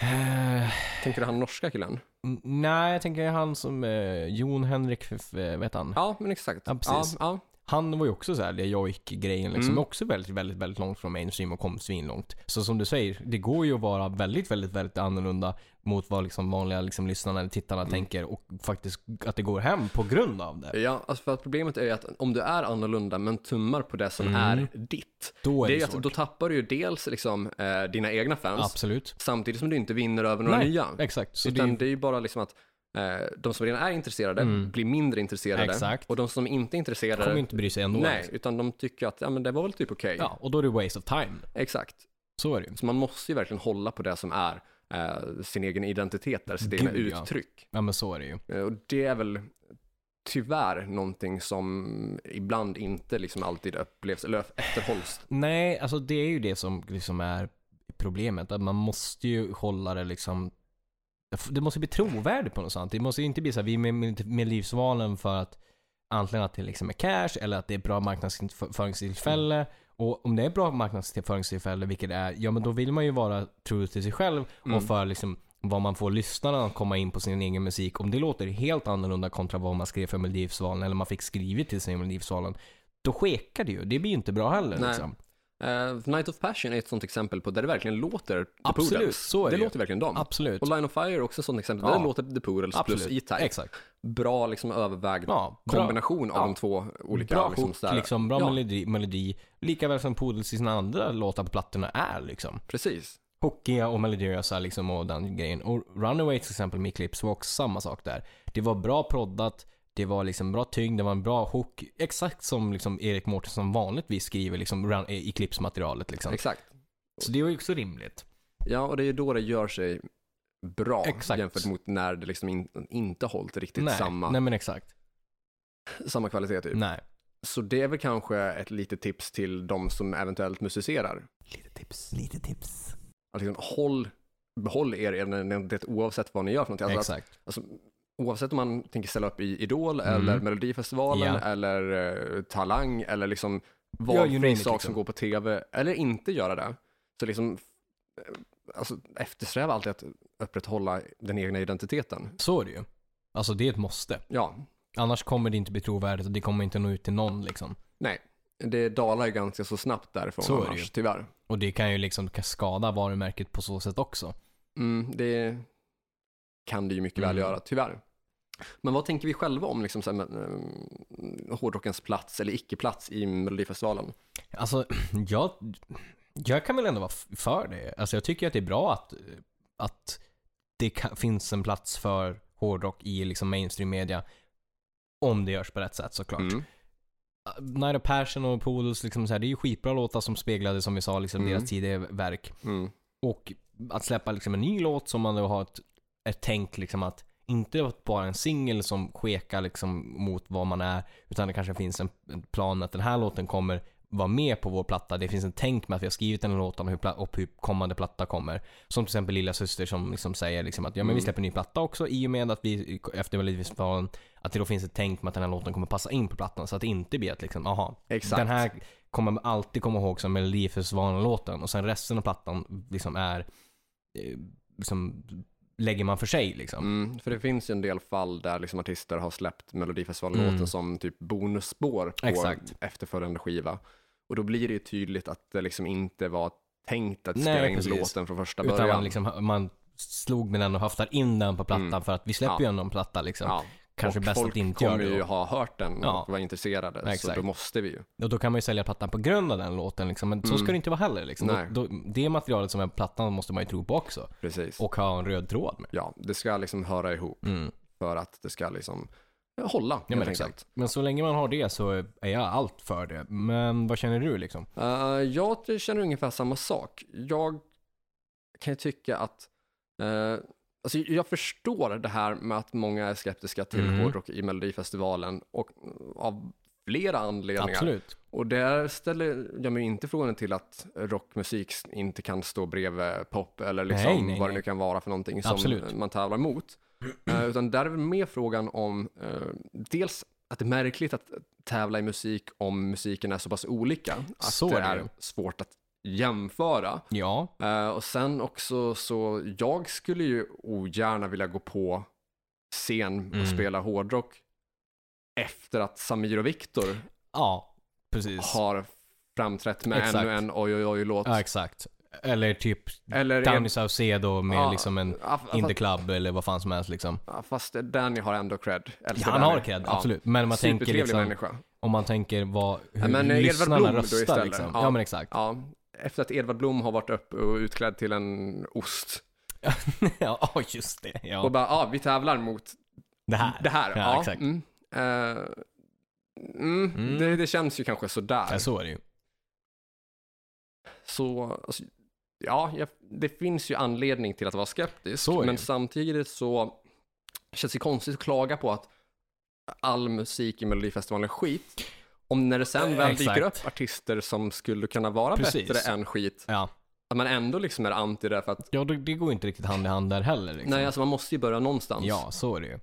[SPEAKER 2] eh,
[SPEAKER 1] Tänker du han norska killen?
[SPEAKER 2] n- Nej, jag tänker han som eh, Jon Henrik, f- eh, vet han?
[SPEAKER 1] Ja, men exakt.
[SPEAKER 2] Ja, precis.
[SPEAKER 1] Ja,
[SPEAKER 2] Han var ju också så här, det jojk-grejen liksom,
[SPEAKER 1] Mm.
[SPEAKER 2] också väldigt, väldigt, väldigt långt från mainstream och kom svinlångt. Så som du säger, det går ju att vara väldigt, väldigt, väldigt annorlunda mot vad liksom vanliga liksom, lyssnarna eller tittarna
[SPEAKER 1] Mm.
[SPEAKER 2] tänker och faktiskt att det går hem på grund av det.
[SPEAKER 1] ja. ja alltså för att problemet är ju att om du är annorlunda men tummar på det som
[SPEAKER 2] Mm.
[SPEAKER 1] är ditt,
[SPEAKER 2] Då är
[SPEAKER 1] det är
[SPEAKER 2] det,
[SPEAKER 1] ju
[SPEAKER 2] svårt.
[SPEAKER 1] att då tappar du ju dels liksom, eh, dina egna fans,
[SPEAKER 2] Absolut.
[SPEAKER 1] samtidigt som du inte vinner över några
[SPEAKER 2] Nej,
[SPEAKER 1] nya.
[SPEAKER 2] Exakt. Så
[SPEAKER 1] Utan
[SPEAKER 2] det,
[SPEAKER 1] det är ju bara liksom att eh, de som redan är intresserade
[SPEAKER 2] Mm.
[SPEAKER 1] blir mindre intresserade
[SPEAKER 2] Exakt.
[SPEAKER 1] och de som inte är
[SPEAKER 2] kommer ju
[SPEAKER 1] intresserade,
[SPEAKER 2] inte bry sig ändå.
[SPEAKER 1] nej,
[SPEAKER 2] liksom.
[SPEAKER 1] utan de tycker att ja, men det var väl typ okej.
[SPEAKER 2] Ja, och då är det waste of time.
[SPEAKER 1] Exakt.
[SPEAKER 2] Så är det ju.
[SPEAKER 1] Så man måste ju verkligen hålla på det som är eh, sin egen identitet, där, sitt
[SPEAKER 2] Gud,
[SPEAKER 1] egna
[SPEAKER 2] ja.
[SPEAKER 1] uttryck.
[SPEAKER 2] Ja, men så är det ju.
[SPEAKER 1] Eh, Och det är väl tyvärr någonting som ibland inte liksom alltid upplevs eller efterhålls.
[SPEAKER 2] Nej, alltså det är ju det som liksom är problemet. Att man måste ju hålla det liksom... Det måste bli trovärdigt på något sätt. Det måste ju inte bli så här, vi är med, med, med livsvalen för att antingen att det liksom är cash eller att det är bra marknadsföringstillfälle. Och om det är bra marknadsföringstillfälle, vilket det är, ja men då vill man ju vara true till sig själv och för liksom vad man får lyssnarna att komma in på sin egen musik. Om det låter helt annorlunda kontra vad man skrev för Melodifestivalen eller man fick skrivit till sig i Melodifestivalen, då skekar det ju. Det blir ju inte bra heller.
[SPEAKER 1] Nej.
[SPEAKER 2] Liksom.
[SPEAKER 1] Eh, Night of Passion är ett sånt exempel på där det verkligen låter The
[SPEAKER 2] Absolut,
[SPEAKER 1] Poodles.
[SPEAKER 2] så är
[SPEAKER 1] det
[SPEAKER 2] det ju.
[SPEAKER 1] låter verkligen dem.
[SPEAKER 2] Absolut.
[SPEAKER 1] Och Line of Fire är också ett sånt exempel där
[SPEAKER 2] Ja.
[SPEAKER 1] det låter The Poodles
[SPEAKER 2] Absolut.
[SPEAKER 1] plus E-Type.
[SPEAKER 2] Exakt.
[SPEAKER 1] Bra liksom övervägd
[SPEAKER 2] Ja, bra-
[SPEAKER 1] kombination av
[SPEAKER 2] ja.
[SPEAKER 1] de två olika.
[SPEAKER 2] bra
[SPEAKER 1] liksom,
[SPEAKER 2] hook,
[SPEAKER 1] sådär.
[SPEAKER 2] liksom, bra
[SPEAKER 1] Ja.
[SPEAKER 2] melodi, melodi. Likaväl som Poodles i sina andra låtar på plattorna är liksom.
[SPEAKER 1] Precis.
[SPEAKER 2] Hookiga och melodiösa liksom och den grejen. Och Runaway till exempel med Clips var också samma sak där. Det var bra proddat, det var liksom bra tyngd, det var en bra hook. Exakt som liksom Erik Mårtensson vanligtvis skriver liksom run, i Clips-materialet liksom.
[SPEAKER 1] Exakt.
[SPEAKER 2] Så det var ju också rimligt.
[SPEAKER 1] Ja, och det är ju då det gör sig bra
[SPEAKER 2] Exakt.
[SPEAKER 1] jämfört mot när det liksom in, inte hållit riktigt
[SPEAKER 2] Nej,
[SPEAKER 1] samma, Typ.
[SPEAKER 2] nej men exakt.
[SPEAKER 1] samma kvalitet. Typ.
[SPEAKER 2] Nej.
[SPEAKER 1] Så det är väl kanske ett litet tips till de som eventuellt musicerar.
[SPEAKER 2] Lite tips. Lite tips.
[SPEAKER 1] Att liksom, håll, behåll er identitet oavsett vad ni gör för någonting. Alltså, att,
[SPEAKER 2] Exakt.
[SPEAKER 1] alltså, oavsett om man tänker ställa upp i Idol
[SPEAKER 2] Mm.
[SPEAKER 1] eller Melodifestivalen
[SPEAKER 2] Ja.
[SPEAKER 1] eller eh, Talang eller liksom
[SPEAKER 2] Ja, you name
[SPEAKER 1] valfri
[SPEAKER 2] it,
[SPEAKER 1] sak
[SPEAKER 2] liksom.
[SPEAKER 1] som går på tv eller inte göra det. Så liksom, eh, alltså, eftersträva alltid att upprätthålla den egna identiteten.
[SPEAKER 2] Så är det ju. Alltså det är ett måste.
[SPEAKER 1] Ja,
[SPEAKER 2] Annars kommer det inte bli trovärdigt och det kommer inte nå ut till någon liksom.
[SPEAKER 1] nej, det dalar ju ganska så snabbt därifrån
[SPEAKER 2] Så är det ju.
[SPEAKER 1] annars, tyvärr.
[SPEAKER 2] Och det kan ju liksom kan skada varumärket på så sätt också.
[SPEAKER 1] Mm, det kan det ju mycket väl
[SPEAKER 2] Mm.
[SPEAKER 1] göra, tyvärr. Men vad tänker vi själva om liksom, så här, men, eh, hårdrockens plats eller icke-plats i Melodifestivalen?
[SPEAKER 2] Alltså, jag, jag kan väl ändå vara f- för det. Alltså jag tycker att det är bra att, att det kan, finns en plats för hårdrock i liksom mainstream media. Om det görs på rätt sätt såklart.
[SPEAKER 1] Mm.
[SPEAKER 2] Naira Persson och Poodles, liksom så här, det är ju skitbra låtar som speglade, som vi sa, liksom
[SPEAKER 1] Mm.
[SPEAKER 2] deras tidigare verk.
[SPEAKER 1] Mm.
[SPEAKER 2] Och att släppa liksom en ny låt som man då har ett, ett tänk liksom att inte bara en singel som skekar liksom mot vad man är, utan det kanske finns en, en plan att den här låten kommer vara med på vår platta. Det finns en tänk med att vi har skrivit en låt om hur, pla- och hur kommande platta kommer. Som till exempel Lilla Syster som liksom säger liksom att ja, men vi
[SPEAKER 1] Mm.
[SPEAKER 2] släpper en ny platta också i och med att vi efter Melodifestivalen, att det då finns ett tänk med att den här låten kommer passa in på plattan så att det inte blir att liksom, aha,
[SPEAKER 1] Exakt.
[SPEAKER 2] den här kommer man alltid komma ihåg som Melodifestivalen-låten och sen resten av plattan liksom är, eh, liksom, lägger man för sig liksom.
[SPEAKER 1] Mm, för det finns ju en del fall där liksom artister har släppt Melodifestivalen-låten
[SPEAKER 2] Mm.
[SPEAKER 1] som typ bonusspår på
[SPEAKER 2] Exakt.
[SPEAKER 1] efterföljande skiva. Och då blir det ju tydligt att det liksom inte var tänkt att
[SPEAKER 2] Nej,
[SPEAKER 1] spela in
[SPEAKER 2] precis.
[SPEAKER 1] låten från första
[SPEAKER 2] Utan man,
[SPEAKER 1] början.
[SPEAKER 2] liksom, man slog med den och höftar in den på plattan
[SPEAKER 1] Mm.
[SPEAKER 2] för att vi släpper
[SPEAKER 1] Ja.
[SPEAKER 2] ju ändå en platta liksom.
[SPEAKER 1] ja.
[SPEAKER 2] Kanske
[SPEAKER 1] och
[SPEAKER 2] bäst
[SPEAKER 1] folk
[SPEAKER 2] att inte göra
[SPEAKER 1] kommer
[SPEAKER 2] det
[SPEAKER 1] ju
[SPEAKER 2] då.
[SPEAKER 1] ha hört den och
[SPEAKER 2] Ja.
[SPEAKER 1] vara intresserade, så
[SPEAKER 2] Exakt.
[SPEAKER 1] då måste vi ju.
[SPEAKER 2] Och då kan man ju sälja plattan på grund av den låten liksom. Men så
[SPEAKER 1] Mm.
[SPEAKER 2] ska det inte vara heller liksom.
[SPEAKER 1] Nej.
[SPEAKER 2] Då, då, det materialet som är på plattan måste man ju tro på också.
[SPEAKER 1] Precis.
[SPEAKER 2] Och ha en röd tråd med.
[SPEAKER 1] Ja, det ska liksom höra ihop
[SPEAKER 2] Mm.
[SPEAKER 1] för att det ska liksom ja, hålla,
[SPEAKER 2] Ja, men, exakt. men så länge man har det så är jag allt för det. Men vad känner du liksom?
[SPEAKER 1] Eh, jag känner ungefär samma sak. Jag kan ju tycka att, eh, alltså jag förstår det här med att många är skeptiska till
[SPEAKER 2] Mm.
[SPEAKER 1] hårdrock i Melodifestivalen och mm, av flera anledningar.
[SPEAKER 2] Absolut.
[SPEAKER 1] Och där ställer jag mig inte frågan till att rockmusik inte kan stå bredvid pop eller liksom
[SPEAKER 2] Nej, nej,
[SPEAKER 1] vad det
[SPEAKER 2] nej.
[SPEAKER 1] nu kan vara för någonting som
[SPEAKER 2] Absolut.
[SPEAKER 1] man tävlar mot. Eh, utan där är väl mer frågan om eh, dels att det är märkligt att tävla i musik om musiken är så pass olika. Att
[SPEAKER 2] Så
[SPEAKER 1] det
[SPEAKER 2] är det
[SPEAKER 1] är
[SPEAKER 2] ju.
[SPEAKER 1] svårt att jämföra.
[SPEAKER 2] Ja.
[SPEAKER 1] Eh, och sen också så, jag skulle ju ogärna vilja gå på scen och
[SPEAKER 2] Mm.
[SPEAKER 1] spela hårdrock efter att Samir och Viktor
[SPEAKER 2] Ja, precis.
[SPEAKER 1] har framträtt med
[SPEAKER 2] Exakt.
[SPEAKER 1] ännu en oj oj oj-låt.
[SPEAKER 2] Ja, exakt. Eller typ
[SPEAKER 1] Eller
[SPEAKER 2] Danny Saucedo med
[SPEAKER 1] Ja, Alltså-
[SPEAKER 2] liksom en
[SPEAKER 1] ja, fa-
[SPEAKER 2] in the club eller vad fan som helst liksom.
[SPEAKER 1] ja, fast Danny har ändå cred. Älskar
[SPEAKER 2] Ja, han
[SPEAKER 1] Danny.
[SPEAKER 2] har cred,
[SPEAKER 1] Ja.
[SPEAKER 2] absolut. Men om man tänker
[SPEAKER 1] Supertrevlig
[SPEAKER 2] liksom,
[SPEAKER 1] människa.
[SPEAKER 2] om man tänker vad, hur
[SPEAKER 1] men, eh, Edvard Blom
[SPEAKER 2] lyssnarna
[SPEAKER 1] då
[SPEAKER 2] röstar
[SPEAKER 1] istället.
[SPEAKER 2] liksom.
[SPEAKER 1] Ja.
[SPEAKER 2] Ja, men exakt.
[SPEAKER 1] Ja, efter att Edvard Blom har varit upp och utklädd till en ost.
[SPEAKER 2] Ja, just det.
[SPEAKER 1] Och
[SPEAKER 2] Ja.
[SPEAKER 1] bara, ja, vi tävlar mot
[SPEAKER 2] Det här.
[SPEAKER 1] det här.
[SPEAKER 2] Ja,
[SPEAKER 1] Ja,
[SPEAKER 2] exakt.
[SPEAKER 1] Mm. Eh, mm,
[SPEAKER 2] Mm.
[SPEAKER 1] Det, det känns ju kanske sådär.
[SPEAKER 2] Ja, så är det ju.
[SPEAKER 1] Så, alltså, ja, jag, det finns ju anledning till att vara skeptisk.
[SPEAKER 2] Så är det
[SPEAKER 1] men
[SPEAKER 2] ju.
[SPEAKER 1] samtidigt så känns det konstigt att klaga på att all musik i Melodifestivalen är skit. Om när det sen väl
[SPEAKER 2] Exakt.
[SPEAKER 1] dyker upp artister som skulle kunna vara
[SPEAKER 2] Precis.
[SPEAKER 1] bättre än skit,
[SPEAKER 2] Ja,
[SPEAKER 1] att man ändå liksom är anti det för att
[SPEAKER 2] ja det, det går inte riktigt hand i hand där heller liksom.
[SPEAKER 1] nej, alltså man måste ju börja någonstans.
[SPEAKER 2] Ja, så är det ju.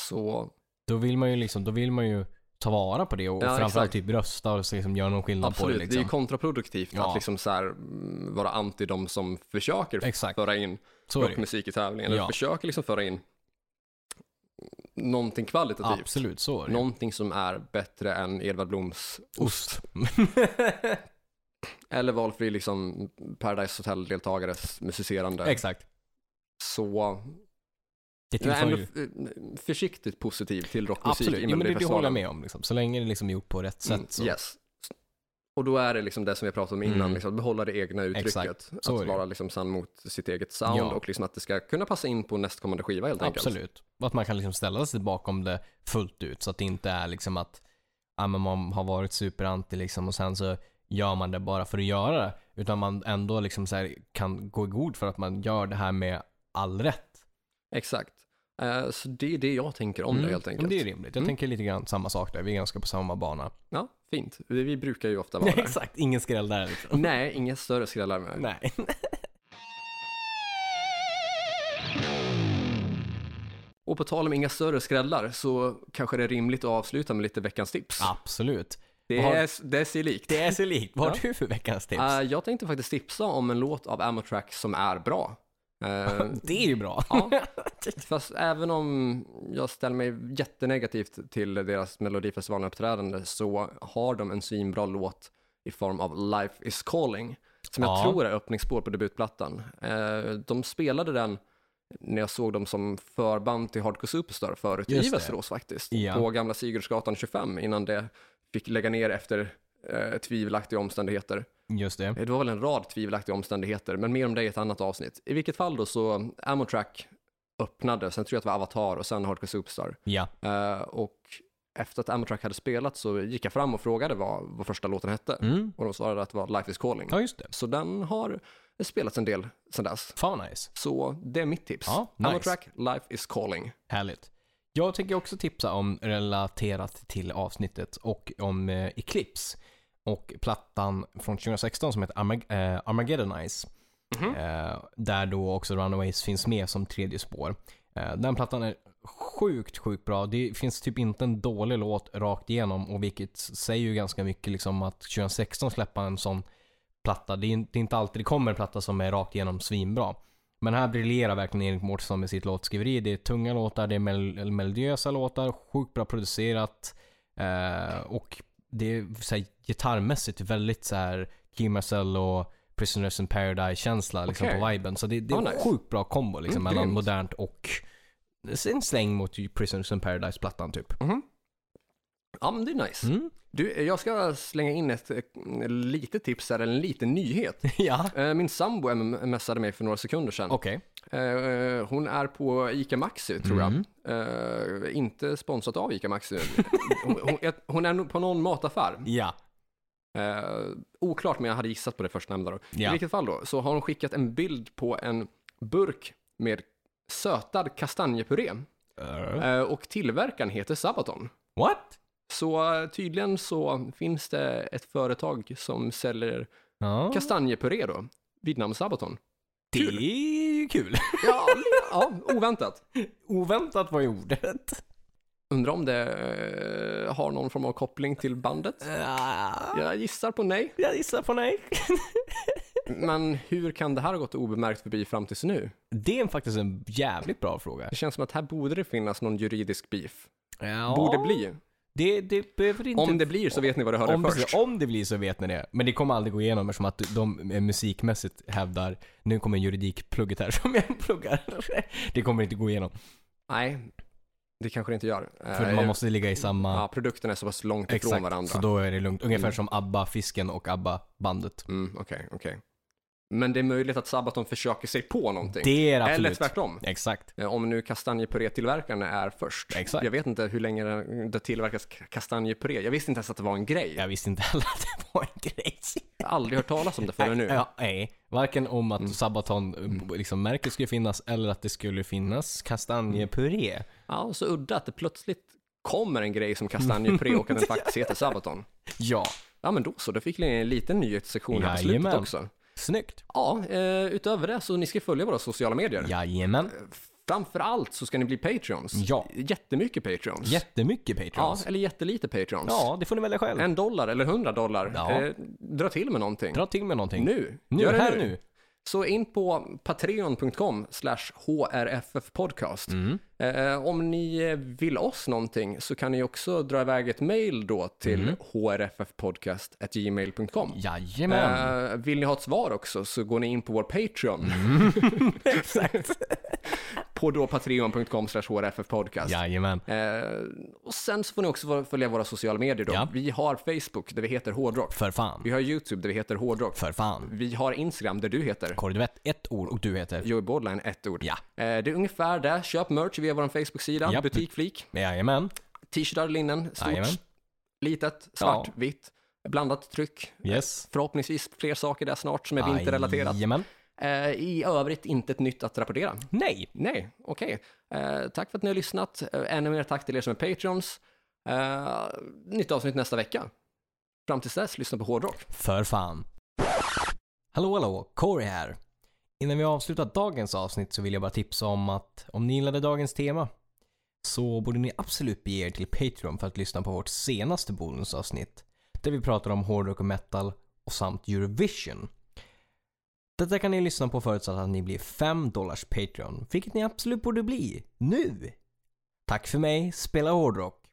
[SPEAKER 1] Så
[SPEAKER 2] Då vill man ju liksom, då vill man ju ta vara på det och
[SPEAKER 1] Ja,
[SPEAKER 2] framförallt
[SPEAKER 1] exakt.
[SPEAKER 2] typ rösta och så liksom göra någon skillnad
[SPEAKER 1] absolut,
[SPEAKER 2] på det
[SPEAKER 1] det är ju
[SPEAKER 2] liksom.
[SPEAKER 1] kontraproduktivt
[SPEAKER 2] Ja.
[SPEAKER 1] att liksom så här, mm, vara anti de som försöker
[SPEAKER 2] Exakt,
[SPEAKER 1] föra in
[SPEAKER 2] så är det ju.
[SPEAKER 1] rockmusik i tävlingen. Eller
[SPEAKER 2] Ja.
[SPEAKER 1] försöker liksom föra in någonting kvalitativt.
[SPEAKER 2] Absolut, så är det ju.
[SPEAKER 1] Någonting som är bättre än Edvard Bloms
[SPEAKER 2] Ost.
[SPEAKER 1] eller valfri liksom Paradise Hotel-deltagares musicerande.
[SPEAKER 2] Exakt.
[SPEAKER 1] Så
[SPEAKER 2] Det
[SPEAKER 1] jag är
[SPEAKER 2] tillför
[SPEAKER 1] ändå
[SPEAKER 2] ju.
[SPEAKER 1] f- försiktig positiv till rockmusik
[SPEAKER 2] Absolut,
[SPEAKER 1] i
[SPEAKER 2] ja, men det, det håller jag
[SPEAKER 1] Melodifestivalen.
[SPEAKER 2] med om. Liksom. Så länge det liksom är gjort på rätt sätt.
[SPEAKER 1] Mm,
[SPEAKER 2] Så.
[SPEAKER 1] Yes. Och då är det liksom det som vi pratade om innan,
[SPEAKER 2] Mm.
[SPEAKER 1] liksom, att behålla det egna uttrycket.
[SPEAKER 2] Exakt, så är
[SPEAKER 1] att
[SPEAKER 2] det ju.
[SPEAKER 1] vara liksom sann mot sitt eget sound
[SPEAKER 2] Ja.
[SPEAKER 1] och liksom att det ska kunna passa in på nästkommande skiva helt enkelt.
[SPEAKER 2] Absolut. Och att man kan liksom ställa sig bakom det fullt ut så att det inte är liksom att ja, men man har varit superanti liksom och sen så gör man det bara för att göra det. Utan man ändå liksom så här kan gå i god för att man gör det här med all rätt.
[SPEAKER 1] Exakt. Eh, så det är det jag tänker om det helt
[SPEAKER 2] Mm,
[SPEAKER 1] enkelt.
[SPEAKER 2] men Det är rimligt. Jag
[SPEAKER 1] Mm.
[SPEAKER 2] tänker lite grann samma sak där. Vi är ganska på samma bana.
[SPEAKER 1] Ja, fint. Vi vi brukar ju ofta vara där.
[SPEAKER 2] Exakt, ingen skräll där liksom.
[SPEAKER 1] Nej, inga större skrällar med.
[SPEAKER 2] Nej.
[SPEAKER 1] Och på tal om inga större skrällar så kanske det är rimligt att avsluta med lite veckans tips.
[SPEAKER 2] Absolut.
[SPEAKER 1] det,
[SPEAKER 2] vad har-
[SPEAKER 1] är, det är sig likt.
[SPEAKER 2] Det är så likt. Vad har
[SPEAKER 1] Ja.
[SPEAKER 2] du för veckans tips?
[SPEAKER 1] Eh, jag tänkte faktiskt tipsa om en låt av Amotrack som är bra. Eh,
[SPEAKER 2] det är ju bra.
[SPEAKER 1] ja. Fast även om jag ställer mig jättenegativt till deras Melodifestivalen-uppträdande så har de en svinbra låt i form av Life is calling, som jag
[SPEAKER 2] Ja.
[SPEAKER 1] tror är öppningsspår på debutplattan. Eh, De spelade den när jag såg dem som förband till Hardcore Superstar förut
[SPEAKER 2] Just
[SPEAKER 1] i
[SPEAKER 2] det.
[SPEAKER 1] Västerås faktiskt,
[SPEAKER 2] Ja.
[SPEAKER 1] på gamla Sigurdsgatan 25, innan det fick lägga ner efter eh, tvivelaktiga omständigheter.
[SPEAKER 2] Just det.
[SPEAKER 1] Det var väl en rad tvivelaktiga omständigheter, men mer om det i ett annat avsnitt. I vilket fall då så, Amotrack öppnade, sen tror jag att det var Avatar och sen Hardcore Superstar.
[SPEAKER 2] Ja.
[SPEAKER 1] Eh, och efter att Amatrack hade spelat så gick jag fram och frågade vad, vad första låten hette.
[SPEAKER 2] Mm.
[SPEAKER 1] Och de svarade att det var Life is calling.
[SPEAKER 2] Ja, just det.
[SPEAKER 1] Så den har spelats en del sedan dess.
[SPEAKER 2] Fan vad nice.
[SPEAKER 1] Så det är mitt tips.
[SPEAKER 2] Ja, nice.
[SPEAKER 1] Amatrack, Life is calling.
[SPEAKER 2] Härligt. Jag tänker också tipsa om relaterat till avsnittet och om eh, Eclipse och plattan från 2016 som heter Armag- eh, Armageddonize. Eh, där då också Runaways finns med som tredje spår. Eh, den plattan är sjukt, sjukt bra. Det finns typ inte en dålig låt rakt igenom och vilket säger ju ganska mycket liksom att 2016 släppa en sån platta. Det är, in- det är inte alltid det kommer en platta som är rakt igenom svinbra. Men här briljerar verkligen Erik Mårtensson med sitt låtskriveri. Det är tunga låtar, det är mel- melodiösa låtar, sjukt bra producerat. Eh, och det är så här, gitarrmässigt väldigt så här Key Marcel och Prisoners in Paradise-känsla liksom,
[SPEAKER 1] Okej.
[SPEAKER 2] på viben. Så det, det är
[SPEAKER 1] Ah,
[SPEAKER 2] en
[SPEAKER 1] nice.
[SPEAKER 2] sjukt bra kombo liksom,
[SPEAKER 1] Mm,
[SPEAKER 2] mellan
[SPEAKER 1] grymt.
[SPEAKER 2] modernt och en släng mot ju Prisoners in Paradise-plattan typ.
[SPEAKER 1] Ja, men det är nice.
[SPEAKER 2] Mm.
[SPEAKER 1] Du, jag ska slänga in ett eh, litet tips här, eller en liten nyhet.
[SPEAKER 2] ja.
[SPEAKER 1] Eh, Min sambo m- messade mig för några sekunder sedan.
[SPEAKER 2] Okej.
[SPEAKER 1] Eh, Hon är på ICA Maxi, tror jag.
[SPEAKER 2] Mm.
[SPEAKER 1] Eh, Inte sponsrat av ICA Maxi. Hon, hon, jag- hon är nog på någon mataffär.
[SPEAKER 2] Ja.
[SPEAKER 1] Eh, oklart, men jag hade gissat på det förstnämnda. Då.
[SPEAKER 2] Ja.
[SPEAKER 1] I vilket fall då, så har hon skickat en bild på en burk med sötad kastanjepuré.
[SPEAKER 2] Mm.
[SPEAKER 1] Eh, och tillverkaren heter Sabaton.
[SPEAKER 2] What?
[SPEAKER 1] Så eh, tydligen så finns det ett företag som säljer
[SPEAKER 2] Ja.
[SPEAKER 1] kastanjepuré då, vid namn Sabaton.
[SPEAKER 2] Det
[SPEAKER 1] kul.
[SPEAKER 2] är ju kul.
[SPEAKER 1] Ja, ja oväntat.
[SPEAKER 2] Oväntat var ju ordet.
[SPEAKER 1] Undrar om det eh, har någon form av koppling till bandet? Jag gissar på nej,
[SPEAKER 2] Jag gissar på nej.
[SPEAKER 1] men hur kan det här ha gått obemärkt förbi fram tills nu?
[SPEAKER 2] Det är faktiskt en jävligt bra fråga.
[SPEAKER 1] Det känns som att här borde det finnas någon juridisk beef.
[SPEAKER 2] Ja.
[SPEAKER 1] Borde bli.
[SPEAKER 2] Det, det behöver inte...
[SPEAKER 1] Om det blir så vet ni vad du hörde
[SPEAKER 2] om,
[SPEAKER 1] först.
[SPEAKER 2] precis, om det blir så vet ni det. Men det kommer aldrig gå igenom eftersom att de eh, musikmässigt hävdar, nu kommer juridikplugget här som jag pluggar. Det kommer inte gå igenom.
[SPEAKER 1] Nej, det kanske det inte gör.
[SPEAKER 2] För
[SPEAKER 1] Eh,
[SPEAKER 2] man måste ligga i samma...
[SPEAKER 1] Ja, produkterna är så pass långt ifrån
[SPEAKER 2] Exakt,
[SPEAKER 1] varandra.
[SPEAKER 2] så då är det lugnt. Ungefär som ABBA-fisken och ABBA-bandet.
[SPEAKER 1] Mm, okej, okej. Men det är möjligt att Sabaton försöker sig på någonting.
[SPEAKER 2] Det är det absolut.
[SPEAKER 1] Eller tvärtom.
[SPEAKER 2] Exakt.
[SPEAKER 1] Eh, Om nu kastanjepuré-tillverkarna är först.
[SPEAKER 2] Exakt.
[SPEAKER 1] Jag vet inte hur länge det tillverkas k- kastanjepuré. Jag visste inte ens att det var en grej.
[SPEAKER 2] Jag visste inte heller att det var en grej.
[SPEAKER 1] Jag har aldrig hört talas om det förrän nu. Mm.
[SPEAKER 2] Ja, nej. Varken om att Sabaton eh, liksom, märket skulle finnas eller att det skulle finnas kastanjepuré.
[SPEAKER 1] Ja, så udda att det plötsligt kommer en grej som kastanjepuré och att den faktiskt heter Sabaton.
[SPEAKER 2] Ja,
[SPEAKER 1] Ja, men då så. Då fick ni en liten nyhetssektion här på slutet
[SPEAKER 2] Jajamän.
[SPEAKER 1] också.
[SPEAKER 2] snyggt.
[SPEAKER 1] Ja, eh, utöver det så ni ska följa våra sociala medier.
[SPEAKER 2] Jajamän.
[SPEAKER 1] Framförallt så ska ni bli Patreons.
[SPEAKER 2] Ja.
[SPEAKER 1] Jättemycket Patreons.
[SPEAKER 2] Jättemycket
[SPEAKER 1] ja,
[SPEAKER 2] Patreons. Ja.
[SPEAKER 1] eller jättelite Patreons.
[SPEAKER 2] det får ni välja själv.
[SPEAKER 1] En dollar eller hundra dollar.
[SPEAKER 2] Ja.
[SPEAKER 1] Eh, dra till med någonting.
[SPEAKER 2] Dra till med någonting.
[SPEAKER 1] Nu.
[SPEAKER 2] nu
[SPEAKER 1] Gör det
[SPEAKER 2] här
[SPEAKER 1] nu.
[SPEAKER 2] nu.
[SPEAKER 1] Så in på patreon.com slash hrffpodcast.
[SPEAKER 2] Mm.
[SPEAKER 1] Eh, om ni eh, vill oss någonting så kan ni också dra iväg ett mail då till
[SPEAKER 2] Mm.
[SPEAKER 1] hrffpodcast.gmail.com.
[SPEAKER 2] Jajamän.
[SPEAKER 1] Eh, vill ni ha ett svar också så går ni in på vår Patreon.
[SPEAKER 2] Mm.
[SPEAKER 1] på då patreon.com slash hrffpodcast.
[SPEAKER 2] Jajamän.
[SPEAKER 1] Eh, och sen så får ni också följa våra sociala medier då.
[SPEAKER 2] Ja.
[SPEAKER 1] Vi har Facebook där vi heter Hårdrock.
[SPEAKER 2] För fan.
[SPEAKER 1] Vi har YouTube där vi heter Hårdrock.
[SPEAKER 2] För fan.
[SPEAKER 1] Vi har Instagram där du heter
[SPEAKER 2] Korvett, ett ord och du heter?
[SPEAKER 1] Joey Bordline, ett ord.
[SPEAKER 2] Ja.
[SPEAKER 1] Eh, det är ungefär där. Köp merch via vår Facebook-sida,
[SPEAKER 2] Japp.
[SPEAKER 1] butikflik,
[SPEAKER 2] Jajamän.
[SPEAKER 1] t-shirtar, linnen, stort,
[SPEAKER 2] Jajamän.
[SPEAKER 1] litet, svart,
[SPEAKER 2] Ja.
[SPEAKER 1] vitt, blandat tryck.
[SPEAKER 2] Yes.
[SPEAKER 1] Förhoppningsvis fler saker där snart som är vinterrelaterat.
[SPEAKER 2] Jajamän.
[SPEAKER 1] Eh, I övrigt inte ett nytt att rapportera.
[SPEAKER 2] Nej.
[SPEAKER 1] Nej, okej. Eh, tack för att ni har lyssnat. Eh, ännu mer tack till er som är Patreons. Eh, nytt avsnitt nästa vecka. Fram tills dess, lyssna på hårdrock.
[SPEAKER 2] För fan. Hallå hallå, Corey här. Innan vi avslutar dagens avsnitt så vill jag bara tipsa om att om ni gillade dagens tema så borde ni absolut bege er till Patreon för att lyssna på vårt senaste bonusavsnitt där vi pratar om hårdrock och metal och samt Eurovision. Detta kan ni lyssna på förutsatt att ni blir 5 dollars Patreon, vilket ni absolut borde bli nu. Tack för mig, spela hårdrock.